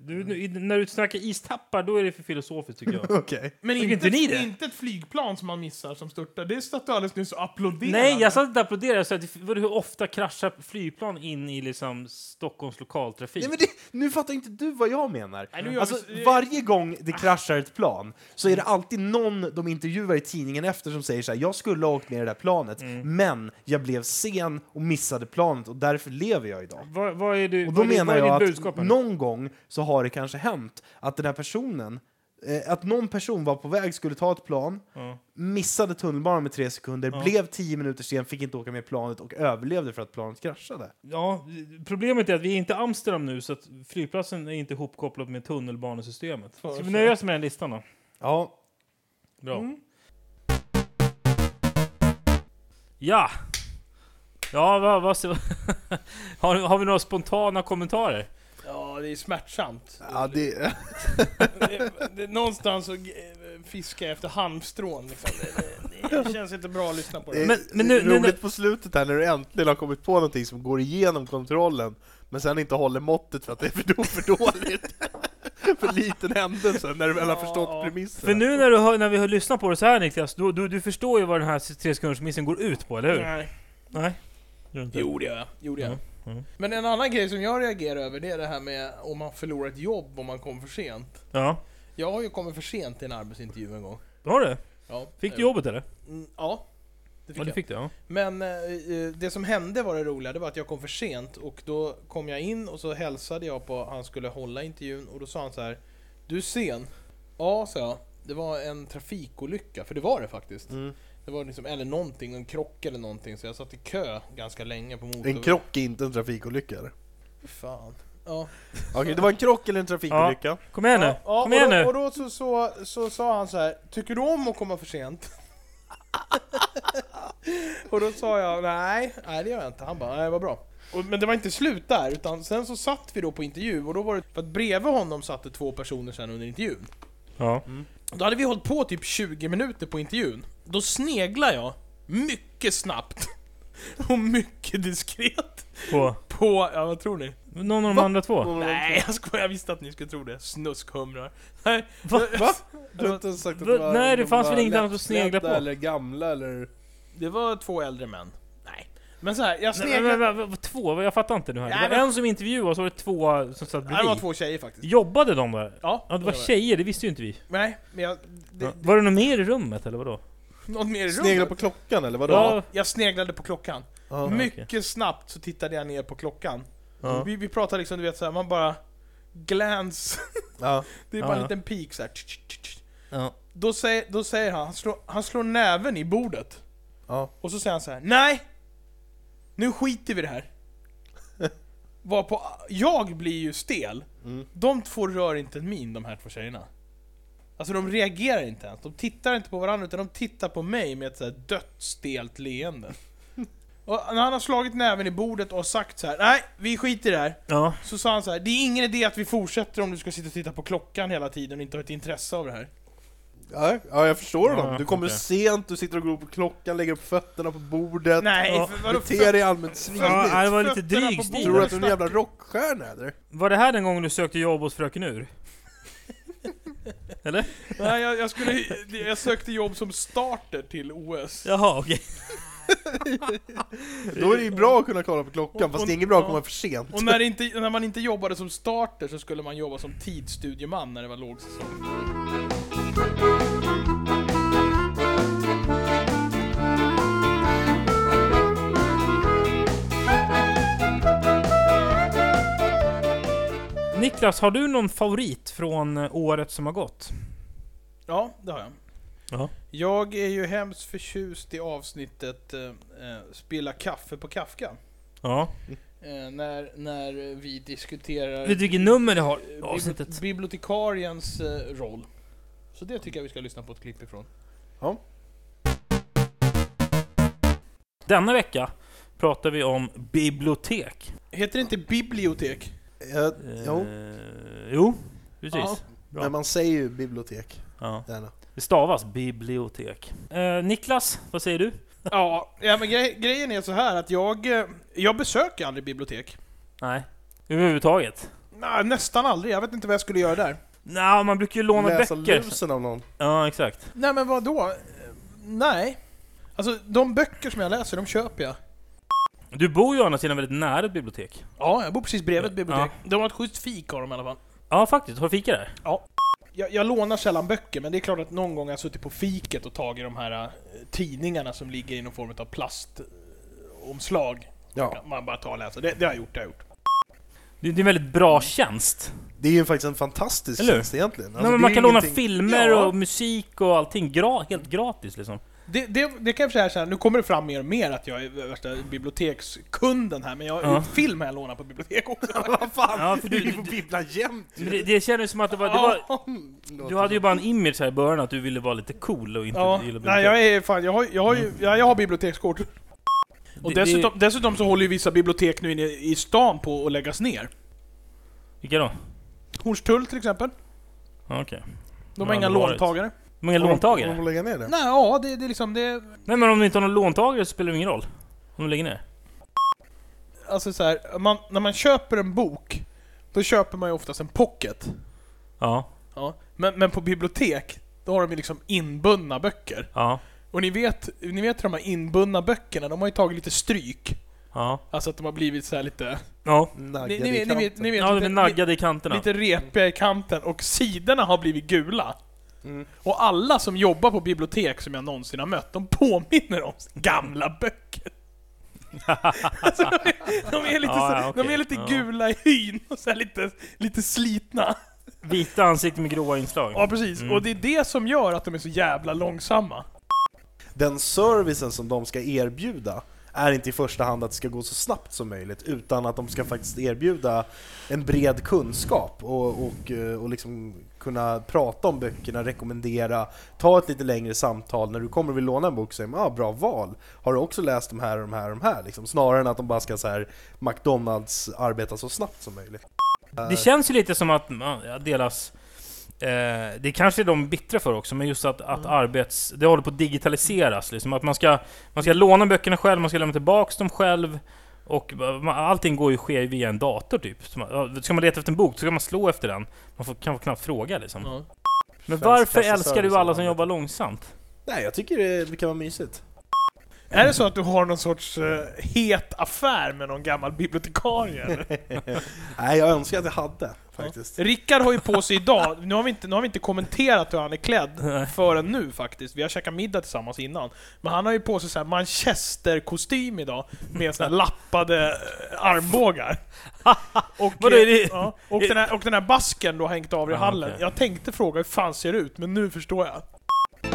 Speaker 4: Du, nu, i- när du snackar istappar, då är det för filosofiskt tycker
Speaker 2: (laughs)
Speaker 3: (laughs)
Speaker 4: jag.
Speaker 3: Okej.
Speaker 2: Men
Speaker 4: Tycker
Speaker 2: inte,
Speaker 4: inte ni det?
Speaker 2: inte ett flygplan som man missar som störtar. Det satt du alldeles nyss och applåderade.
Speaker 4: Nej, jag satt inte och applåderade. Jag sa att, vadå, hur ofta kraschar flygplan in i liksom Stockholms lokaltrafik?
Speaker 3: Nej, men det, nu fattar inte du vad jag menar.
Speaker 2: nu gör vi
Speaker 3: alltså,
Speaker 2: så-
Speaker 3: varje gång det kraschar ett plan så är det alltid någon de intervjuar i tidningen efter som säger så här, jag skulle ha åkt ner i det där planet,
Speaker 4: Mm.
Speaker 3: men jag blev sen och missade planet och därför lever jag idag.
Speaker 4: Vad, vad är du,
Speaker 3: Och då
Speaker 4: vad, är-
Speaker 3: menar
Speaker 4: vad är
Speaker 3: jag
Speaker 4: ditt
Speaker 3: att
Speaker 4: budskap? här nu?
Speaker 3: någon gång så har det kanske hänt att den här personen, eh, att någon person var på väg, skulle ta ett plan,
Speaker 4: Ja.
Speaker 3: missade tunnelbanan med tre sekunder, blev tio minuter sen, fick inte åka med planet och överlevde för att planet kraschade.
Speaker 4: Ja, problemet är att vi är inte i Amsterdam nu så att flygplatsen är inte ihopkopplad med tunnelbanesystemet. Ska vi nöja oss med den listan då? Mm.
Speaker 3: Ja,
Speaker 4: Bra. Ja! Ja, vad, vad, (laughs) har, har vi några spontana kommentarer?
Speaker 2: Ja, det är smärtsamt.
Speaker 5: Ja, det...
Speaker 2: Det- det- Någonstans så g- fiskar jag efter halmstrån. Liksom. Det, det, det känns inte bra att lyssna på det.
Speaker 4: Men-
Speaker 5: Men,
Speaker 4: men nu-
Speaker 5: nu,
Speaker 4: nu-
Speaker 5: roligt på slutet här när du äntligen har kommit på någonting som går igenom kontrollen men sen inte håller måttet för att det är för, då, för
Speaker 3: (laughs)
Speaker 5: dåligt. för liten händelse när du väl har
Speaker 2: Ja.
Speaker 5: förstått premissen.
Speaker 4: För nu när, du hör, när vi har lyssnat på det så här Niklas, du, du, du förstår ju vad den här tresekundersmissen går ut på, eller hur?
Speaker 2: Nej.
Speaker 4: Nej.
Speaker 2: Jo, det gör jag. Jo, det gör jag.
Speaker 4: Mm,
Speaker 2: Men en annan grej som jag reagerar över det är det här med om man förlorar ett jobb om man kommer för sent.
Speaker 4: Ja.
Speaker 2: Jag har ju kommit för sent till en arbetsintervju en gång.
Speaker 4: Har du?
Speaker 2: Ja,
Speaker 4: Fick du
Speaker 2: eh,
Speaker 4: jobbet eller?
Speaker 2: mm, Ja.
Speaker 4: Ja,
Speaker 5: det fick
Speaker 4: det
Speaker 5: jag.
Speaker 4: fick du? Ja.
Speaker 5: Men eh, eh, det som hände var det roliga, det var att jag kom för sent och då kom jag in och så hälsade jag på han skulle hålla intervjun och då sa han så här Du är sen. Ja, sa jag. Det var en trafikolycka, för det var det faktiskt.
Speaker 3: Mm.
Speaker 5: Det var liksom, eller någonting, en krock eller någonting, så jag satt i kö ganska länge på motorvägen.
Speaker 3: En krock är inte en trafikolycka eller?
Speaker 5: Fan. Ja.
Speaker 3: Okej, det var en krock eller en trafikolycka?
Speaker 4: Kom igen nu!
Speaker 5: Ja, ja,
Speaker 4: Kom igen
Speaker 5: och då,
Speaker 4: nu!
Speaker 5: Och då så, så, så sa han så här, tycker du om att komma för sent? (laughs) och då sa jag, nej, nej det gör jag inte. Han bara, nej vad bra. Och, men det var inte slut där, utan sen så satt vi då på intervju och då var det, för att bredvid honom satt det två personer sen under intervjun.
Speaker 4: Ja.
Speaker 5: Då hade vi hållit på typ 20 minuter på intervjun. Då sneglar jag, mycket snabbt (laughs) och mycket diskret
Speaker 4: På
Speaker 5: på, ja vad tror ni?
Speaker 4: någon av de
Speaker 5: Va?
Speaker 4: andra två?
Speaker 5: Nej jag skojar, jag visste att ni skulle tro det. Snuskhumrar. Nej,
Speaker 4: Va?
Speaker 5: Va?
Speaker 3: Du har inte ens sagt att
Speaker 4: Va?
Speaker 3: det var,
Speaker 4: Nej, det
Speaker 3: de
Speaker 4: fanns
Speaker 3: var
Speaker 4: väl inget annat att
Speaker 3: lättklädda
Speaker 4: snegla på?
Speaker 3: Eller gamla eller...
Speaker 5: Det var två äldre män. Nej. Men så här, jag
Speaker 4: Nej, men,
Speaker 5: sneglade...
Speaker 4: men, men, men, två? Jag fattar inte nu här.
Speaker 5: Nej,
Speaker 4: Det var
Speaker 5: men-
Speaker 4: en som intervjuade och så var det två som satt
Speaker 5: Nej, det var
Speaker 4: bredvid.
Speaker 5: två tjejer faktiskt.
Speaker 4: Jobbade de där?
Speaker 5: Ja,
Speaker 4: Ja, det var
Speaker 5: det.
Speaker 4: tjejer, det visste ju inte vi.
Speaker 5: Nej, men jag... Det,
Speaker 4: Ja. Var det någon mer i rummet eller vadå?
Speaker 5: Något mer i
Speaker 3: Snegla
Speaker 5: rummet?
Speaker 3: på klockan eller vadå?
Speaker 4: Ja.
Speaker 5: Jag sneglade på klockan.
Speaker 3: Ja.
Speaker 5: Mycket snabbt så tittade jag ner på klockan.
Speaker 4: Ja.
Speaker 5: Vi, vi pratar liksom, du vet så här, man bara... Glans.
Speaker 3: Ja.
Speaker 5: (laughs) Det är bara
Speaker 4: Ja,
Speaker 5: en
Speaker 4: ja.
Speaker 5: liten pik så här. tch, tch, tch, tch.
Speaker 4: Ja.
Speaker 5: Då säger, då säger han, han slår, han slår näven i bordet.
Speaker 3: Ja.
Speaker 5: Och så säger han så här: nej! Nu skiter vi i det här. Varpå, jag blir ju stel. De två rör inte en min, de här två tjejerna. Alltså de reagerar inte ens, de tittar inte på varandra utan de tittar på mig med ett så här dött stelt leende. Och när han har slagit näven i bordet och sagt så här: nej, vi skiter i det här.
Speaker 4: Ja.
Speaker 5: Så sa han så här: det är ingen idé att vi fortsätter om du ska sitta och titta på klockan hela tiden och inte ha ett intresse av det här.
Speaker 3: Ja, ja, jag förstår
Speaker 4: Ja,
Speaker 3: honom. Du kommer
Speaker 4: okej.
Speaker 3: sent, du sitter och glor på klockan, lägger upp fötterna på bordet.
Speaker 5: Nej,
Speaker 4: Ja,
Speaker 5: för, vadå
Speaker 3: Beter dig allmänt
Speaker 4: Ja,
Speaker 3: svinigt.
Speaker 4: det var lite
Speaker 5: Fötterna på
Speaker 4: dryg stil.
Speaker 3: Tror du att du är en jävla rockstjärna eller?
Speaker 4: Var det här den gången du sökte jobb hos Fröken Ur? Eller?
Speaker 5: Nej, jag, jag, skulle, jag sökte jobb som starter till OS.
Speaker 4: Jaha, okej.
Speaker 3: Då är det ju bra att kunna kolla på klockan, fast det är inget bra att komma för sent.
Speaker 5: Och när, det inte, när man inte jobbade som starter så skulle man jobba som tidsstudieman när det var lågsäsong.
Speaker 4: Niklas, har du någon favorit från eh, året som har gått?
Speaker 5: Ja, det har jag.
Speaker 4: Ja.
Speaker 5: Jag är ju hemskt förtjust i avsnittet eh, eh, Spilla kaffe på Kafka.
Speaker 4: Ja.
Speaker 5: Eh, när, när vi diskuterar
Speaker 4: Vet du vilket nummer det har?
Speaker 5: eh, bibli-
Speaker 4: Avsnittet.
Speaker 5: bibliotekariens eh, roll. Så det tycker jag vi ska lyssna på ett klipp ifrån.
Speaker 4: Denna vecka pratar vi om bibliotek.
Speaker 5: Heter det inte bibliotek?
Speaker 3: Jag, jo,
Speaker 4: Eh, jo, precis.
Speaker 5: Ja.
Speaker 4: bra.
Speaker 3: men man säger ju bibliotek.
Speaker 4: Ja.
Speaker 3: Gärna.
Speaker 4: Det stavas bibliotek. Eh, Niklas, vad säger du?
Speaker 5: Ja, ja men gre- grejen är så här att jag, eh, jag besöker aldrig bibliotek.
Speaker 4: Nej, överhuvudtaget.
Speaker 5: Nej, nästan aldrig, jag vet inte vad jag skulle göra där.
Speaker 4: Nej, man brukar ju låna
Speaker 3: Läsa
Speaker 4: böcker.
Speaker 3: lusen av någon.
Speaker 4: Ja, exakt.
Speaker 5: Nej men vad då? Nej. Alltså de böcker som jag läser, de köper jag.
Speaker 4: Du bor ju å andra sidan väldigt nära ett bibliotek.
Speaker 5: Ja, jag bor precis bredvid ett bibliotek. De har ett schysst fik har de i alla fall.
Speaker 4: Ja, faktiskt. Har du fika där?
Speaker 5: Jag, jag lånar sällan böcker, men det är klart att någon gång har jag suttit på fiket och tagit de här eh, tidningarna som ligger i någon form av plastomslag.
Speaker 3: Ja.
Speaker 5: Man bara tar och läser. Det, det har jag gjort, det har jag gjort.
Speaker 4: Det det är en väldigt bra tjänst.
Speaker 3: Det är ju faktiskt en fantastisk
Speaker 4: Eller hur?
Speaker 3: tjänst egentligen. Alltså,
Speaker 4: Nej, men
Speaker 3: det
Speaker 4: man
Speaker 3: är
Speaker 4: kan låna
Speaker 3: ingenting-
Speaker 4: filmer
Speaker 5: Ja.
Speaker 4: och musik och allting gra helt gratis liksom.
Speaker 5: Det, det, det kan jag säga så här, nu kommer det fram mer och mer att jag är värsta bibliotekskunden här, men jag,
Speaker 4: Ja.
Speaker 5: film har jag lånat på bibliotek också.
Speaker 4: (laughs) Ja, för
Speaker 3: Du är
Speaker 4: du,
Speaker 3: ju på bibblan jämt!
Speaker 4: men (laughs) det, det kändes som att det var, det var... Du hade ju bara en image här i början att du ville vara lite cool och inte
Speaker 5: Ja,
Speaker 4: gilla bibliotek. Mm.
Speaker 5: nej jag är fan, jag har, jag har, ju- jag, jag har bibliotekskort. Och
Speaker 4: Det- det-
Speaker 5: dessutom, dessutom så håller ju vissa bibliotek nu inne i stan på att läggas ner.
Speaker 4: Vilka då?
Speaker 5: Hornstull till exempel.
Speaker 4: Ja, Okej.
Speaker 5: De har
Speaker 4: Ja,
Speaker 5: inga
Speaker 4: det var det.
Speaker 5: låntagare.
Speaker 4: Många
Speaker 3: Om
Speaker 4: låntagare?
Speaker 3: de lägga ner det?
Speaker 5: Nej, ja det, det är liksom, det...
Speaker 4: Nej men om du inte har någon låntagare så spelar det ingen roll. Om du lägger ner.
Speaker 5: Alltså så här, man, när man köper en bok, då köper man ju oftast en pocket.
Speaker 4: Ja.
Speaker 5: Ja. Men, men på bibliotek, då har de ju liksom inbundna böcker.
Speaker 4: Ja.
Speaker 5: Och ni vet, ni vet hur de här inbundna böckerna, de har ju tagit lite stryk.
Speaker 4: Ja.
Speaker 5: Alltså att de har blivit så här lite...
Speaker 4: Ja.
Speaker 5: Ni,
Speaker 3: Naggade
Speaker 5: ni,
Speaker 3: i
Speaker 5: vet- ni,
Speaker 3: kanten.
Speaker 5: vet, ni vet,
Speaker 4: Ja, de
Speaker 5: lite-
Speaker 4: är naggade i kanterna.
Speaker 5: lite repiga i kanten och sidorna har blivit gula. Och alla som jobbar på bibliotek som jag någonsin har mött, de påminner om gamla böcker.
Speaker 4: (laughs)
Speaker 5: alltså, de, är, de är lite,
Speaker 4: Ja,
Speaker 5: så,
Speaker 4: ja, okej.
Speaker 5: de är lite
Speaker 4: Ja.
Speaker 5: gula i hyn och så här lite, lite slitna.
Speaker 4: Vita ansikten med gråa inslag.
Speaker 5: Ja, precis.
Speaker 4: Mm.
Speaker 5: Och det är det som gör att de är så jävla långsamma.
Speaker 3: Den servicen som de ska erbjuda är inte i första hand att det ska gå så snabbt som möjligt utan att de ska faktiskt erbjuda en bred kunskap och, och, eh, och liksom kunna prata om böckerna, rekommendera, ta ett lite längre samtal. När du kommer och vill låna en bok så säger man ah, ”bra val, har du också läst de här och de här och de här?” liksom, snarare än att de bara ska så här, McDonalds arbeta så snabbt som möjligt.
Speaker 4: Det känns ju lite som att man ja, delas... Eh, det kanske är de bittra för också, men just att, att arbets... Det håller på att digitaliseras liksom. Att man ska, man ska låna böckerna själv, man ska lämna tillbaka dem själv. Och man, allting går ju ske via en dator typ. Så man, ja, ska man leta efter en bok så ska man slå efter den. Man får, kan knappt fråga liksom. Men
Speaker 3: Svensk
Speaker 4: varför
Speaker 3: kassaservice
Speaker 4: älskar du alla
Speaker 3: eller
Speaker 4: som
Speaker 3: något.
Speaker 4: jobbar långsamt?
Speaker 3: Nej, jag tycker det, det kan vara mysigt. (laughs)
Speaker 5: Är det så att du har någon sorts eh, het affär med någon gammal bibliotekarie? eller?
Speaker 3: Nej, jag önskar att jag hade faktiskt.
Speaker 5: (laughs) Rickard har ju på sig idag, nu har, vi inte, nu har vi inte kommenterat hur han är klädd förrän nu faktiskt, vi har käkat middag tillsammans innan. Men han har ju på sig så här manchesterkostym idag, med såna här lappade eh, (laughs) armbågar. Och,
Speaker 4: Vadå, är det-
Speaker 5: ja, och, den här, och den här basken du har hängt av i
Speaker 4: Ah,
Speaker 5: hallen.
Speaker 4: okej.
Speaker 5: Jag tänkte fråga hur fan ser det ut, men nu förstår jag.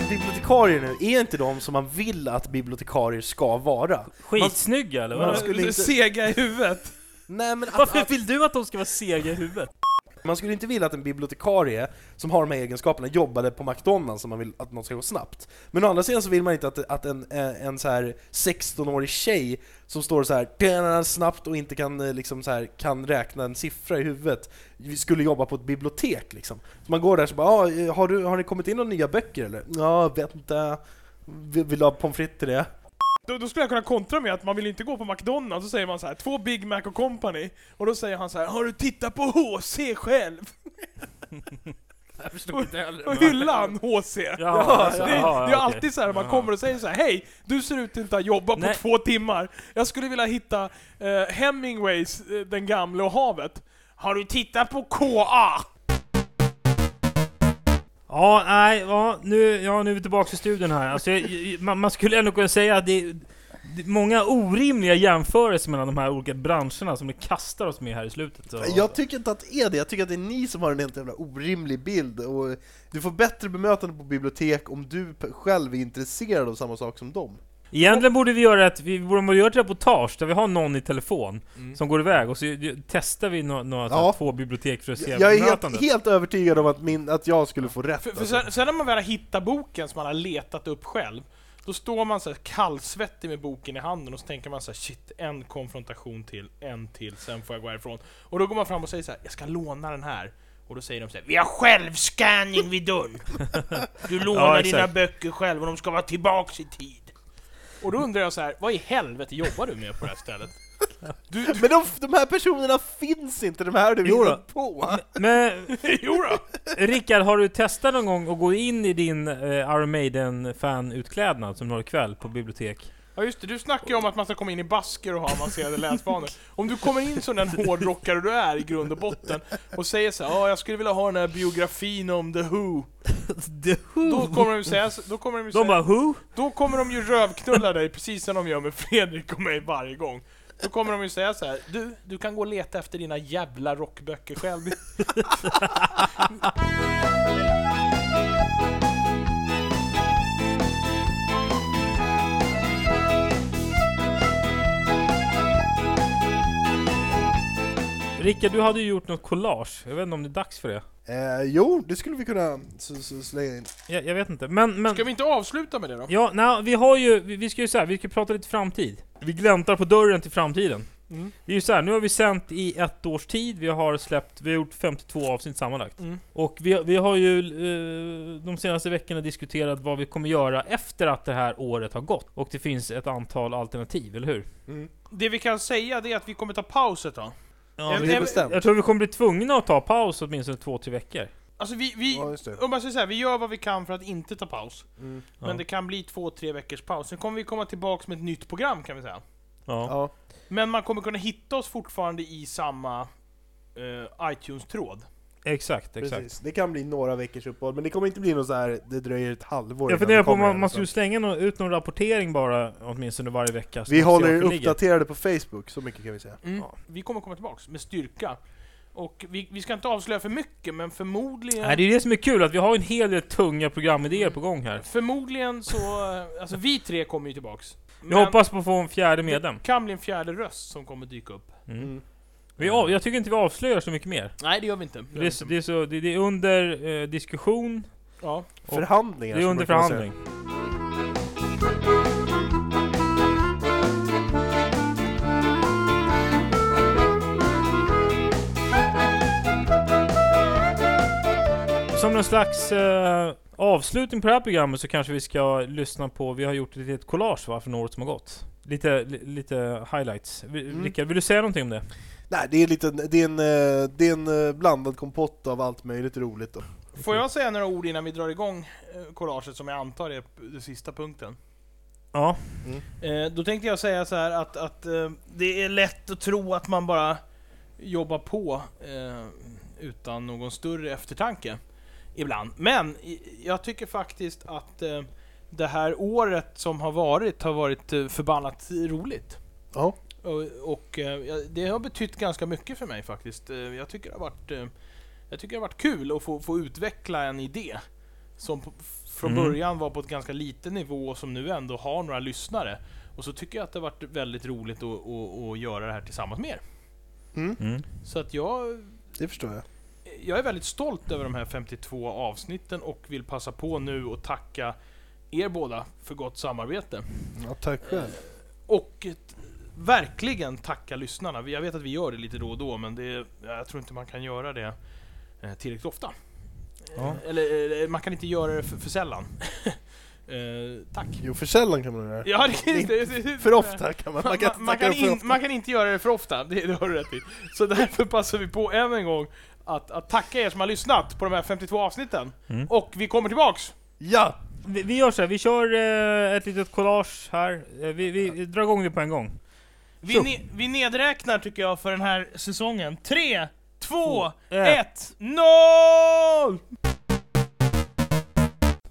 Speaker 3: Bibliotekarier nu, är inte de som man vill att bibliotekarier ska vara?
Speaker 4: Skitsnygga eller?
Speaker 3: Man
Speaker 4: Vad?
Speaker 3: skulle
Speaker 5: Du är
Speaker 3: inte-
Speaker 5: Eh, Sega i huvudet.
Speaker 3: Nej, men att,
Speaker 4: Varför
Speaker 3: att,
Speaker 4: vill du att de ska vara sega i huvudet?
Speaker 3: man skulle inte vilja att en bibliotekarie som har de här egenskaperna jobbade på McDonalds om man vill att något ska gå snabbt. Men å andra sidan så vill man inte att, att en, eh, en så här 16-årig tjej som står så här "Tjena", snabbt och inte kan, eh, liksom så här, kan räkna en siffra i huvudet skulle jobba på ett bibliotek liksom. Så man går där så bara ah, eh, har, du, har det kommit in några nya böcker eller? Ja, vet inte. Vill, vill du ha pommes frites till det?
Speaker 5: Då, då skulle jag kunna kontra med att man vill inte gå på McDonalds, så säger man så här, två Big Mac och company. Och då säger han så här, har du tittat på HC själv?
Speaker 4: (laughs)
Speaker 5: (laughs)
Speaker 4: Jag förstod inte heller.
Speaker 5: Och hyllar han HC.
Speaker 4: Ja,
Speaker 5: alltså, det, är- det är alltid så här man kommer och säger så här: hej, du ser ut att inte ha jobbat på
Speaker 4: Nej.
Speaker 5: två timmar. Jag skulle vilja hitta eh, Hemingways, eh, Den gamle och havet. Har du tittat på KA?
Speaker 4: Ja, nej, ja, nu, ja, nu är vi tillbaka i studion här. Alltså, jag- jag- man, man skulle ändå kunna säga att det är, det är många orimliga jämförelser mellan de här olika branscherna som ni kastar oss med här i slutet. Så.
Speaker 3: Jag tycker inte att det är det, jag tycker att det är ni som har en helt jävla orimlig bild och du får bättre bemötande på bibliotek om du p- själv är intresserad av samma sak som dem.
Speaker 4: Egentligen borde vi göra ett, vi borde göra ett reportage där vi har någon i telefon som går iväg och så ju- testar vi några, några så här
Speaker 3: Ja.
Speaker 4: två bibliotek för att se
Speaker 3: Jag är helt,
Speaker 4: bemötandet.
Speaker 3: helt övertygad om att, min, att jag skulle få rätt.
Speaker 5: För, för
Speaker 3: alltså.
Speaker 5: sen, sen när man väl har hittat boken som man har letat upp själv, då står man så här kallsvettig med boken i handen och så tänker man så här, shit, en konfrontation till, en till, sen får jag gå härifrån. Och då går man fram och säger så här, jag ska låna den här. Och då säger de så här, vi har självscanning vid dörren. Du lånar
Speaker 4: Ja, exakt.
Speaker 5: dina böcker själv och de ska vara tillbaks i tid. Och då undrar jag så här, vad i helvete jobbar du med på det här stället?
Speaker 3: Men de, de här personerna finns inte, de här har du
Speaker 4: Jo då.
Speaker 3: hittat på!
Speaker 4: Men
Speaker 5: jo då.
Speaker 4: Rickard, har du testat någon gång att gå in i din eh, Iron Maiden-fanutklädnad som du har ikväll på bibliotek?
Speaker 5: Ja just det, du snackar ju om att man ska komma in i basker och ha avancerade läsvanor. Om du kommer in som den hårdrockare du är i grund och botten och säger så här, ja jag skulle vilja ha den här biografin om The Who. Då kommer de ju säga, så- då kommer de ju säga,
Speaker 4: De bara who?
Speaker 5: då kommer de ju rövknulla dig precis som de gör med Fredrik och mig varje gång. Då kommer de ju säga så här, du, du kan gå och leta efter dina jävla rockböcker själv.
Speaker 4: Rickard, du hade ju gjort något collage. Jag vet inte om det är dags för det.
Speaker 3: Eh, jo, det skulle vi kunna s- s- slänga in.
Speaker 4: Jag, jag vet inte, men... men
Speaker 5: Ska vi inte avsluta med det då?
Speaker 4: Ja, nej, vi har ju... Vi, vi ska ju så här, vi ska prata lite framtid. Vi gläntar på dörren till framtiden.
Speaker 5: Mm.
Speaker 4: Det är ju så här, nu har vi sänt i ett års tid, vi har släppt, vi har gjort 52 avsnitt sammanlagt.
Speaker 5: Mm.
Speaker 4: Och vi, vi har ju eh, de senaste veckorna diskuterat vad vi kommer göra efter att det här året har gått. Och det finns ett antal alternativ, eller hur?
Speaker 5: Det vi kan säga det är att vi kommer ta paus ett tag.
Speaker 4: Ja,
Speaker 5: En-
Speaker 3: det är
Speaker 5: en-
Speaker 3: bestämt.
Speaker 4: Jag tror vi kommer bli tvungna att ta paus åtminstone två, tre veckor.
Speaker 5: Alltså vi, vi,
Speaker 3: Ja, just det.
Speaker 5: om man säger så här, vi gör vad vi kan för att inte ta paus.
Speaker 3: Mm.
Speaker 5: Men
Speaker 4: Ja.
Speaker 5: det kan bli två, tre veckors paus. Sen kommer vi komma tillbaks med ett nytt program kan vi säga.
Speaker 4: Ja.
Speaker 3: Ja.
Speaker 5: Men man kommer kunna hitta oss fortfarande i samma eh, iTunes-tråd.
Speaker 4: Exakt, exakt.
Speaker 3: Precis. Det kan bli några veckors uppehåll, men det kommer inte bli något så här. det dröjer ett halvår innan
Speaker 4: Jag funderar
Speaker 3: det
Speaker 4: på om
Speaker 3: kommer alltså.
Speaker 4: man,
Speaker 3: en
Speaker 4: man
Speaker 3: sån.
Speaker 4: skulle slänga nå- ut någon rapportering bara, åtminstone varje vecka. så
Speaker 3: Vi
Speaker 4: man ser
Speaker 3: håller
Speaker 4: vart
Speaker 3: er
Speaker 4: det ligger.
Speaker 3: uppdaterade på Facebook, så mycket kan vi säga.
Speaker 5: Mm.
Speaker 4: Ja.
Speaker 5: Vi kommer komma tillbaks med styrka. Och vi, vi ska inte avslöja för mycket, men förmodligen...
Speaker 4: Nej, det är det som är kul, att vi har en hel del tunga programidéer på gång här.
Speaker 5: Förmodligen så... eh, Alltså vi tre kommer ju tillbaks.
Speaker 4: Vi
Speaker 5: Men
Speaker 4: hoppas på att få en fjärde medlem.
Speaker 5: Det kan bli en fjärde röst som kommer dyka upp.
Speaker 4: Mm. Vi av, jag tycker inte vi avslöjar så mycket mer.
Speaker 5: Nej, det gör vi inte. Det
Speaker 4: Det är,
Speaker 5: gör
Speaker 4: så-
Speaker 5: vi
Speaker 4: det
Speaker 5: inte.
Speaker 4: är, så, det, det är under eh, diskussion,
Speaker 5: Ja.
Speaker 4: Och-
Speaker 3: Förhandlingar.
Speaker 4: det är
Speaker 3: som
Speaker 4: under
Speaker 3: brukar man säga.
Speaker 4: förhandling. Som någon slags eh, avslutning på det här programmet så kanske vi ska lyssna på, vi har gjort ett litet collage va, från året som har gått. Lite, li, lite highlights. Vi-
Speaker 3: Mm.
Speaker 4: Rickard, vill du säga någonting om det?
Speaker 3: Nej, det är, lite, det, är en, eh, det är en eh, blandad kompott av allt möjligt roligt. Då.
Speaker 5: Får jag säga några ord innan vi drar igång eh, collaget som jag antar är p- den sista punkten?
Speaker 4: Ja.
Speaker 5: Eh, då tänkte jag säga så här att, att eh, det är lätt att tro att man bara jobbar på eh, utan någon större eftertanke ibland. Men i- jag tycker faktiskt att eh, det här året som har varit har varit eh, förbannat roligt.
Speaker 3: Ja.
Speaker 5: Och, och eh, jag- det har betytt ganska mycket för mig faktiskt. Eh, Jag tycker det har varit, eh, jag tycker det har varit kul att få, få utveckla en idé som på, från
Speaker 4: Mm.
Speaker 5: början var på ett ganska liten nivå och som nu ändå har några lyssnare. Och så tycker jag att det har varit väldigt roligt att, att, att göra det här tillsammans med er.
Speaker 4: Mm.
Speaker 5: Så att jag,
Speaker 3: Det förstår jag.
Speaker 5: jag är väldigt stolt över de här 52 avsnitten och vill passa på nu och tacka er båda för gott samarbete.
Speaker 3: Ja, tack själv.
Speaker 5: Och ett- verkligen tacka lyssnarna. Vi- Jag vet att vi gör det lite då och då, men det, jag tror inte man kan göra det eh, tillräckligt ofta.
Speaker 4: Ja.
Speaker 5: Eh, Eller, eh, man kan inte göra det för, för sällan. (laughs) eh, tack.
Speaker 3: Jo, för sällan kan man göra det.
Speaker 5: Ja, det, det, det, det,
Speaker 3: För ofta kan man.
Speaker 5: Man
Speaker 3: Man kan inte
Speaker 5: man
Speaker 3: tacka
Speaker 5: kan,
Speaker 3: dem för
Speaker 5: in,
Speaker 3: ofta.
Speaker 5: man kan inte göra det för ofta, det, det har du rätt i. Så därför passar vi på än en gång att, att tacka er som har lyssnat på de här 52 avsnitten.
Speaker 4: Mm.
Speaker 5: Och vi kommer tillbaks!
Speaker 3: Ja!
Speaker 4: Vi, vi gör så här, vi kör eh, ett litet collage här. Eh, vi, vi, vi drar igång det på en gång.
Speaker 5: Vi, ne, vi nedräknar tycker jag för den här säsongen. 3, 2,
Speaker 4: Eh,
Speaker 5: 1, 0!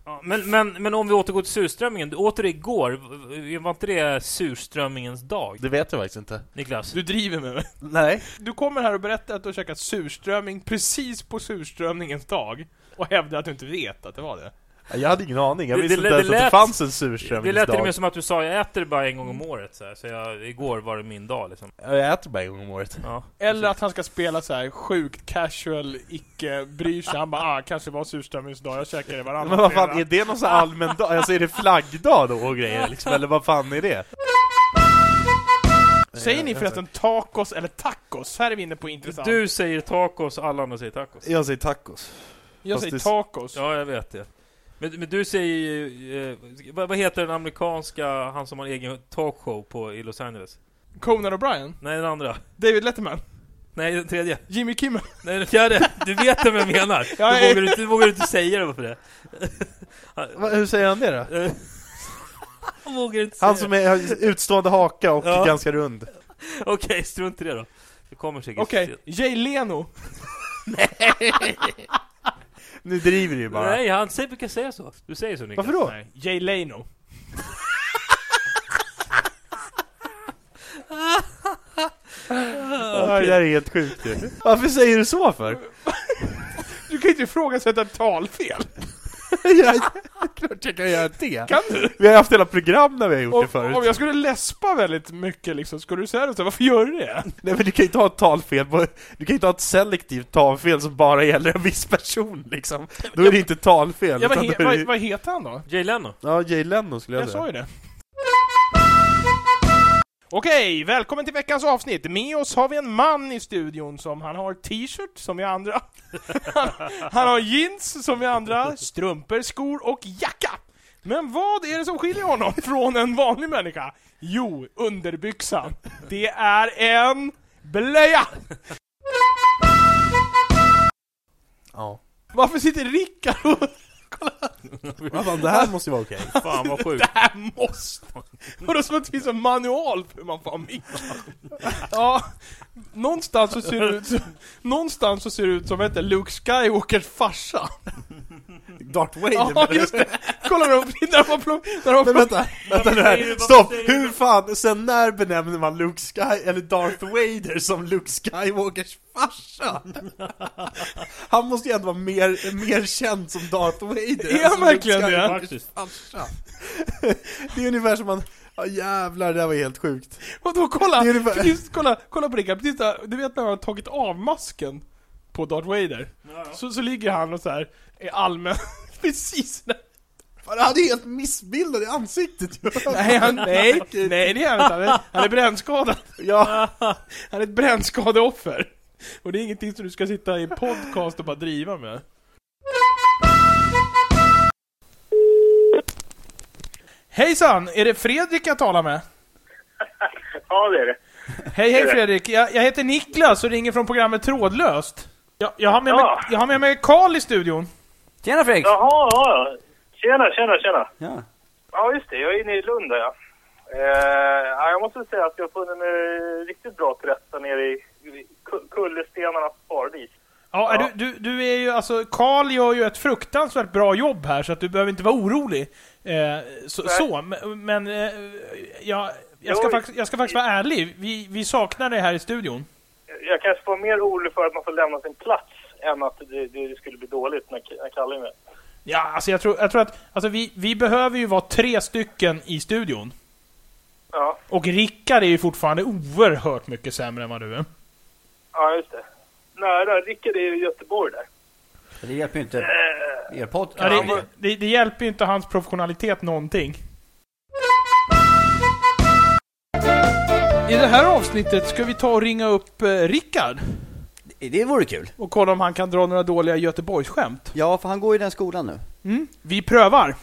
Speaker 4: ja, Men, men, men om vi återgår till surströmmingen. Du åt det igår. V- v- Var inte det surströmmingens dag?
Speaker 3: Det vet jag faktiskt inte.
Speaker 4: Niklas?
Speaker 5: Du driver med mig.
Speaker 3: Nej.
Speaker 5: Du kommer här och berättar att du har käkat surströmming precis på surströmmingens dag. Och hävdar att du inte vet att det var det.
Speaker 3: Jag hade ingen aning. Jag
Speaker 4: Det-
Speaker 3: visste inte
Speaker 4: det-
Speaker 3: ens
Speaker 4: det
Speaker 3: att det
Speaker 4: lät-
Speaker 3: fanns en
Speaker 4: det lät till och
Speaker 3: surströmmingsdag.
Speaker 4: med som att du sa jag äter det bara en gång om året. Så, här, så jag, igår var det min dag liksom.
Speaker 3: Jag äter bara en gång om året.
Speaker 4: Ja.
Speaker 5: Eller att han ska spela så här sjukt casual, icke bryr sig. Han bara ah, kanske var surströmmingsdag, jag käkar det varannan
Speaker 3: Men vad fan,
Speaker 5: fredag."
Speaker 3: är det någon sån här allmän dag? Alltså är det flaggdag då och grejer liksom? Eller vad fan är det?
Speaker 5: Säger ni förresten tacos eller tacos? Här är vi inne på intressant.
Speaker 4: Du säger tacos, alla andra säger tacos.
Speaker 3: Jag säger tacos.
Speaker 5: jag
Speaker 3: fast
Speaker 5: säger
Speaker 3: det-
Speaker 5: tacos.
Speaker 4: Ja, jag vet det. Men, men du säger ju... Eh, vad, vad heter den amerikanska, han som har en egen talkshow på, i Los Angeles?
Speaker 5: Conan O'Brien?
Speaker 4: Nej, den andra.
Speaker 5: David Letterman?
Speaker 4: Nej, den tredje.
Speaker 5: Jimmy Kimmel?
Speaker 4: Nej, den fjärde. Du vet vem jag menar.
Speaker 5: Ja,
Speaker 4: Du vågar, inte- du vågar inte säga det varför det.
Speaker 3: Va, hur säger han det då?
Speaker 4: Eh, Jag vågar inte säga
Speaker 3: Han som är, har utstående haka och
Speaker 4: Ja.
Speaker 3: ganska rund.
Speaker 4: det. Okej, strunt i det då. Det kommer säkert.
Speaker 5: Okej, Jay Leno?
Speaker 3: Nu driver du ju bara.
Speaker 4: Nej, han säger, brukar säga så. Du säger så Niklas.
Speaker 3: Varför då?
Speaker 5: Nej, Jay Leno.
Speaker 3: Ja, Det där är helt sjukt ju. Varför säger du så för? (laughs)
Speaker 5: Du kan ju inte ifrågasätta ett talfel.
Speaker 3: Jag, klart jag kan göra det.
Speaker 5: Kan du?
Speaker 3: Vi har haft hela program när vi har gjort det
Speaker 5: Om,
Speaker 3: förut.
Speaker 5: om jag skulle läspa väldigt mycket liksom, skulle du säga det så? här, Varför gör du det?
Speaker 3: Nej men du kan ju inte ha ett talfel, på, du kan ju inte ha ett selektivt talfel som bara gäller en viss person liksom. Då är det inte talfel.
Speaker 5: Ja, vad,
Speaker 3: utan
Speaker 5: he,
Speaker 3: då är det-
Speaker 5: vad, vad heter han då?
Speaker 4: Jay (laughs) Leno.
Speaker 3: ja Jay Leno skulle jag,
Speaker 5: Jag
Speaker 3: säga.
Speaker 5: sa ju det. Okej, välkommen till veckans avsnitt. Med oss har vi en man i studion som han har t-shirt som vi andra. (laughs) Han, han har jeans som vi andra, strumpor, skor och jacka. Men vad är det som skiljer honom från en vanlig människa? Jo, underbyxan. Det är en blöja!
Speaker 3: Ja.
Speaker 5: Varför sitter Rickard och
Speaker 3: Vad fan, det här måste ju vara okej.
Speaker 4: Fan vad sjukt.
Speaker 5: Det här måste... Vadå som att det finns en manual för hur man får ha mick? Ja, någonstans så ser det ut som... Någonstans så ser det ut som, vad heter det, Luke Skywalkers farsa.
Speaker 3: Darth Vader
Speaker 5: Ja, just det! Kolla upp, när man plock, när man
Speaker 3: Men
Speaker 5: plock,
Speaker 3: vänta, (laughs) vänta nu
Speaker 4: säger du-
Speaker 3: här.
Speaker 4: varför
Speaker 3: Stopp!
Speaker 4: säger du-
Speaker 3: Hur fan, sen när benämner man Luke Sky, eller Darth Vader som Luke Skywalkers
Speaker 5: (laughs)
Speaker 3: farsa? Han måste ju ändå vara mer, mer känd som Darth Vader.
Speaker 5: Är
Speaker 3: än som
Speaker 5: han verkligen
Speaker 3: Luke
Speaker 5: det?
Speaker 3: Skywalkers farsa. (laughs) Det är ungefär som man, ja jävlar det där var helt sjukt.
Speaker 5: och då kolla!
Speaker 3: Det är ungefär-
Speaker 5: Precis, kolla, kolla på Rickard, precis där, du vet när han har tagit av masken på Darth Vader? Så, så ligger han och så här är allmän, (laughs) precis när...
Speaker 3: Fan, Han är helt missbildad i
Speaker 5: (laughs)
Speaker 3: ansiktet ju.
Speaker 5: Nej, han, nej, nej det är han inte, han är, han är (laughs) brännskadad.
Speaker 3: Ja,
Speaker 5: Han är ett brännskadeoffer. Och det är ingenting som du ska sitta i podcast och bara driva med. Hejsan! Är det Fredrik jag talar med?
Speaker 7: Ja, det är det.
Speaker 5: Hej, hej Fredrik! Jag, jag heter Niklas och ringer från programmet Trådlöst. Jag, jag, har, med mig,
Speaker 7: Ja.
Speaker 5: jag har med mig Karl i studion.
Speaker 8: Tjena Fredrik!
Speaker 7: Jaha, ja. ja. Tjena, tjena, tjena.
Speaker 8: Ja.
Speaker 7: Ja, just det. Jag är inne i Lund där, ja. Eh, ja, jag måste säga att jag har funnit mig riktigt bra till rätta nere i i Ku- kullerstenarnas paradis.
Speaker 5: Ja, är
Speaker 7: Ja.
Speaker 5: Du, du, du är ju, alltså, Karl gör ju ett fruktansvärt bra jobb här, så att du behöver inte vara orolig. Eh, så,
Speaker 7: Nej.
Speaker 5: så, men- men eh, jag, jag, ska
Speaker 7: Jo.
Speaker 5: faktiskt, jag ska faktiskt vara ärlig. Vi, vi saknar dig här i studion.
Speaker 7: Jag kanske var mer orolig för att man får lämna sin plats än att det, det skulle bli dåligt när, K- när Kalle är med.
Speaker 5: Ja, alltså jag tror, jag tror att alltså, vi, vi behöver ju vara tre stycken i studion.
Speaker 7: Ja,
Speaker 5: Och Rickard är ju fortfarande oerhört mycket sämre än vad du är.
Speaker 7: ja just det. Nära. Rickard är i Göteborg där.
Speaker 8: Det hjälper ju inte. Er podd
Speaker 5: Ja,
Speaker 8: kan ja,
Speaker 5: det, det, det hjälper ju inte hans professionalitet någonting. I det här avsnittet ska vi ta och ringa upp eh, Rickard
Speaker 8: det, det vore kul.
Speaker 5: och kolla om han kan dra några dåliga Göteborgsskämt.
Speaker 8: Ja, för han går ju den skolan nu.
Speaker 5: Mm. Vi prövar.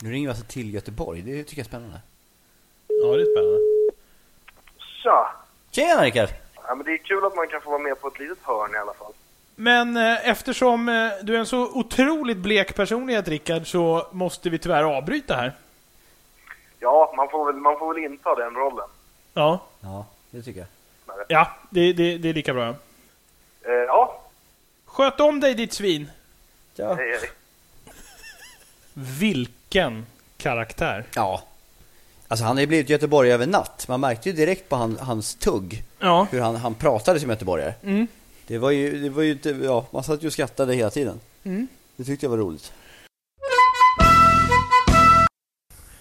Speaker 8: Nu ringer vi alltså till Göteborg, det tycker jag är spännande.
Speaker 5: Ja, det är spännande.
Speaker 7: Tja!
Speaker 8: Tjena Rickard!
Speaker 7: Ja, men det är kul att man kan få vara med på ett litet hörn i alla fall.
Speaker 5: Men eh, eftersom eh, du är en så otroligt blek personlighet, Rickard, så måste vi tyvärr avbryta här.
Speaker 7: Ja, man får väl, man får väl inta den rollen.
Speaker 5: Ja.
Speaker 8: Ja, det tycker jag.
Speaker 5: Ja, det, det, det är lika bra.
Speaker 7: Eh, ja,
Speaker 5: Sköt om dig, ditt svin!
Speaker 8: Ja.
Speaker 7: hej hej.
Speaker 5: Vilken karaktär!
Speaker 8: ja. Alltså han har ju blivit göteborgare över natt. Man märkte ju direkt på han, hans tugg
Speaker 5: Ja.
Speaker 8: hur han, han pratade som göteborgare.
Speaker 5: Mm.
Speaker 8: Det var ju, det var ju inte, ja, man satt ju och skrattade hela tiden.
Speaker 5: Mm.
Speaker 8: Det tyckte jag var roligt.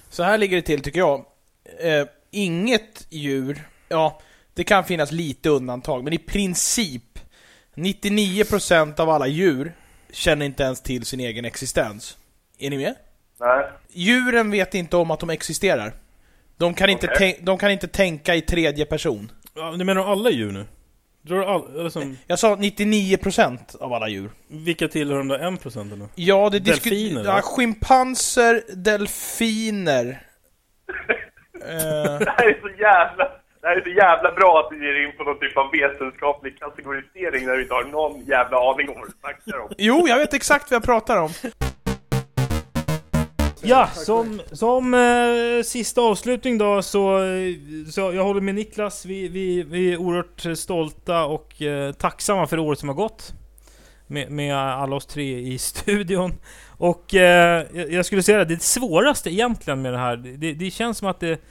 Speaker 5: Så här ligger det till tycker jag. Eh, inget djur, ja, det kan finnas lite undantag, men i princip 99% av alla djur känner inte ens till sin egen existens. Är ni med?
Speaker 7: Nej.
Speaker 5: Djuren vet inte om att de existerar. De kan, inte,
Speaker 7: Okej.
Speaker 5: tän- de kan inte tänka i tredje person.
Speaker 4: Ja, du menar alla djur nu? Drar du all, eller som,
Speaker 5: Jag sa 99% av alla djur.
Speaker 4: vilka tillhör de där 1% nu?
Speaker 5: Ja, det
Speaker 4: Delfiner,
Speaker 5: diskuteras... Ja,
Speaker 4: va?
Speaker 5: schimpanser, delfiner... eh,
Speaker 7: (laughs) Det här är så jävla, (laughs) det här är så jävla bra att du ger in på någon typ av vetenskaplig kategorisering när du inte har någon jävla aning om vad du snackar om.
Speaker 5: jo, jag vet exakt vad jag pratar om.
Speaker 4: Ja, som, som eh, sista avslutning då så, eh, så jag håller med Niklas. Vi, vi, vi är oerhört stolta och eh, tacksamma för året som har gått. Med, med alla oss tre i studion. Och eh, jag jag skulle säga det, det svåraste egentligen med det här, det, det känns som att det...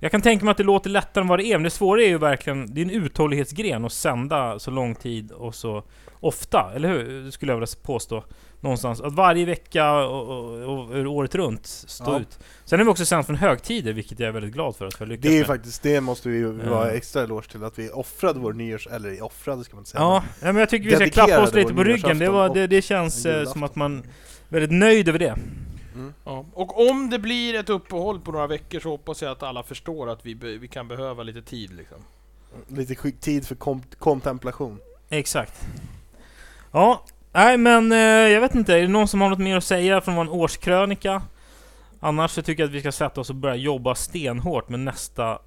Speaker 4: Jag kan tänka mig att det låter lättare än vad det är, men det svåra är ju verkligen, det är en uthållighetsgren att sända så lång tid och så ofta, eller hur? Skulle jag vilja påstå någonstans. Att varje vecka och, och, och och året runt stå
Speaker 3: Ja.
Speaker 4: ut. Sen har vi också sänt från högtider, vilket jag är väldigt glad för att vi har lyckats
Speaker 3: det är
Speaker 4: med.
Speaker 3: faktiskt, det måste vi ju
Speaker 4: Ja.
Speaker 3: vara extra eloge till att vi offrade vår nyårs, eller offrade ska man inte säga.
Speaker 4: Ja, nej, men jag tycker vi ska
Speaker 3: Dedikerade
Speaker 4: klappa oss lite
Speaker 3: vår
Speaker 4: på ryggen. Det, var,
Speaker 3: nyårsafton
Speaker 4: det, det känns
Speaker 3: en
Speaker 4: eh,
Speaker 3: julafton.
Speaker 4: som att man är väldigt nöjd över det.
Speaker 5: Ja. Och om det blir ett uppehåll på några veckor så hoppas jag att alla förstår att vi, be- vi kan behöva lite tid liksom.
Speaker 3: Lite skick- tid för kom- kontemplation.
Speaker 4: Exakt. Ja, nej men eh, jag vet inte. Är det någon som har något mer att säga från vår årskrönika? Annars så tycker jag att vi ska sätta oss och börja jobba stenhårt med nästa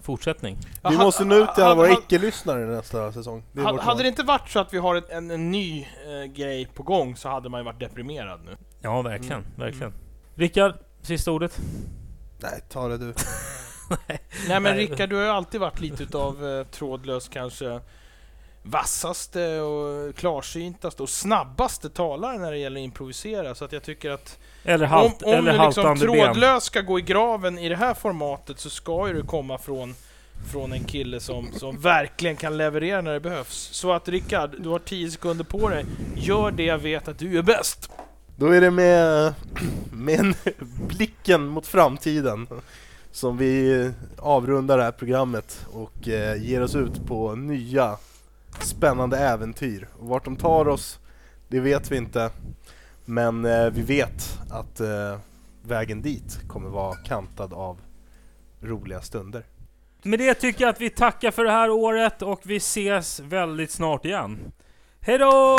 Speaker 4: fortsättning.
Speaker 3: Vi
Speaker 5: ha-
Speaker 3: måste nå ut till alla
Speaker 5: ha-
Speaker 3: våra
Speaker 5: ha-
Speaker 3: icke-lyssnare nästa säsong. Det är
Speaker 5: Ha-
Speaker 3: vårt mål.
Speaker 5: Hade det inte varit så att vi har ett- en, en ny eh, grej på gång så hade man ju varit deprimerad nu.
Speaker 4: Ja, verkligen.
Speaker 5: Mm.
Speaker 4: verkligen. Rickard, sista ordet.
Speaker 3: Nej, ta det du.
Speaker 5: Nej men
Speaker 4: Nej.
Speaker 5: Rickard, du har ju alltid varit lite utav eh, trådlös kanske vassaste och klarsyntaste och snabbaste talare när det gäller att improvisera. Så att jag tycker att
Speaker 4: Eller,
Speaker 5: om,
Speaker 4: halt,
Speaker 5: om
Speaker 4: eller
Speaker 5: du liksom
Speaker 4: haltande ben.
Speaker 5: trådlös ska gå i graven i det här formatet så ska ju det komma från, från en kille som, som verkligen kan leverera när det behövs. Så att Rickard, du har 10 sekunder på dig. Gör det jag vet att du är bäst.
Speaker 3: Då är det med, med en (clears throat) blicken mot framtiden som vi avrundar det här programmet och eh, ger oss ut på nya spännande äventyr. Och vart de tar oss, det vet vi inte. Men eh, vi vet att eh, vägen dit kommer vara kantad av roliga stunder.
Speaker 4: Med det tycker jag att vi tackar för det här året och vi ses väldigt snart igen. Hej då!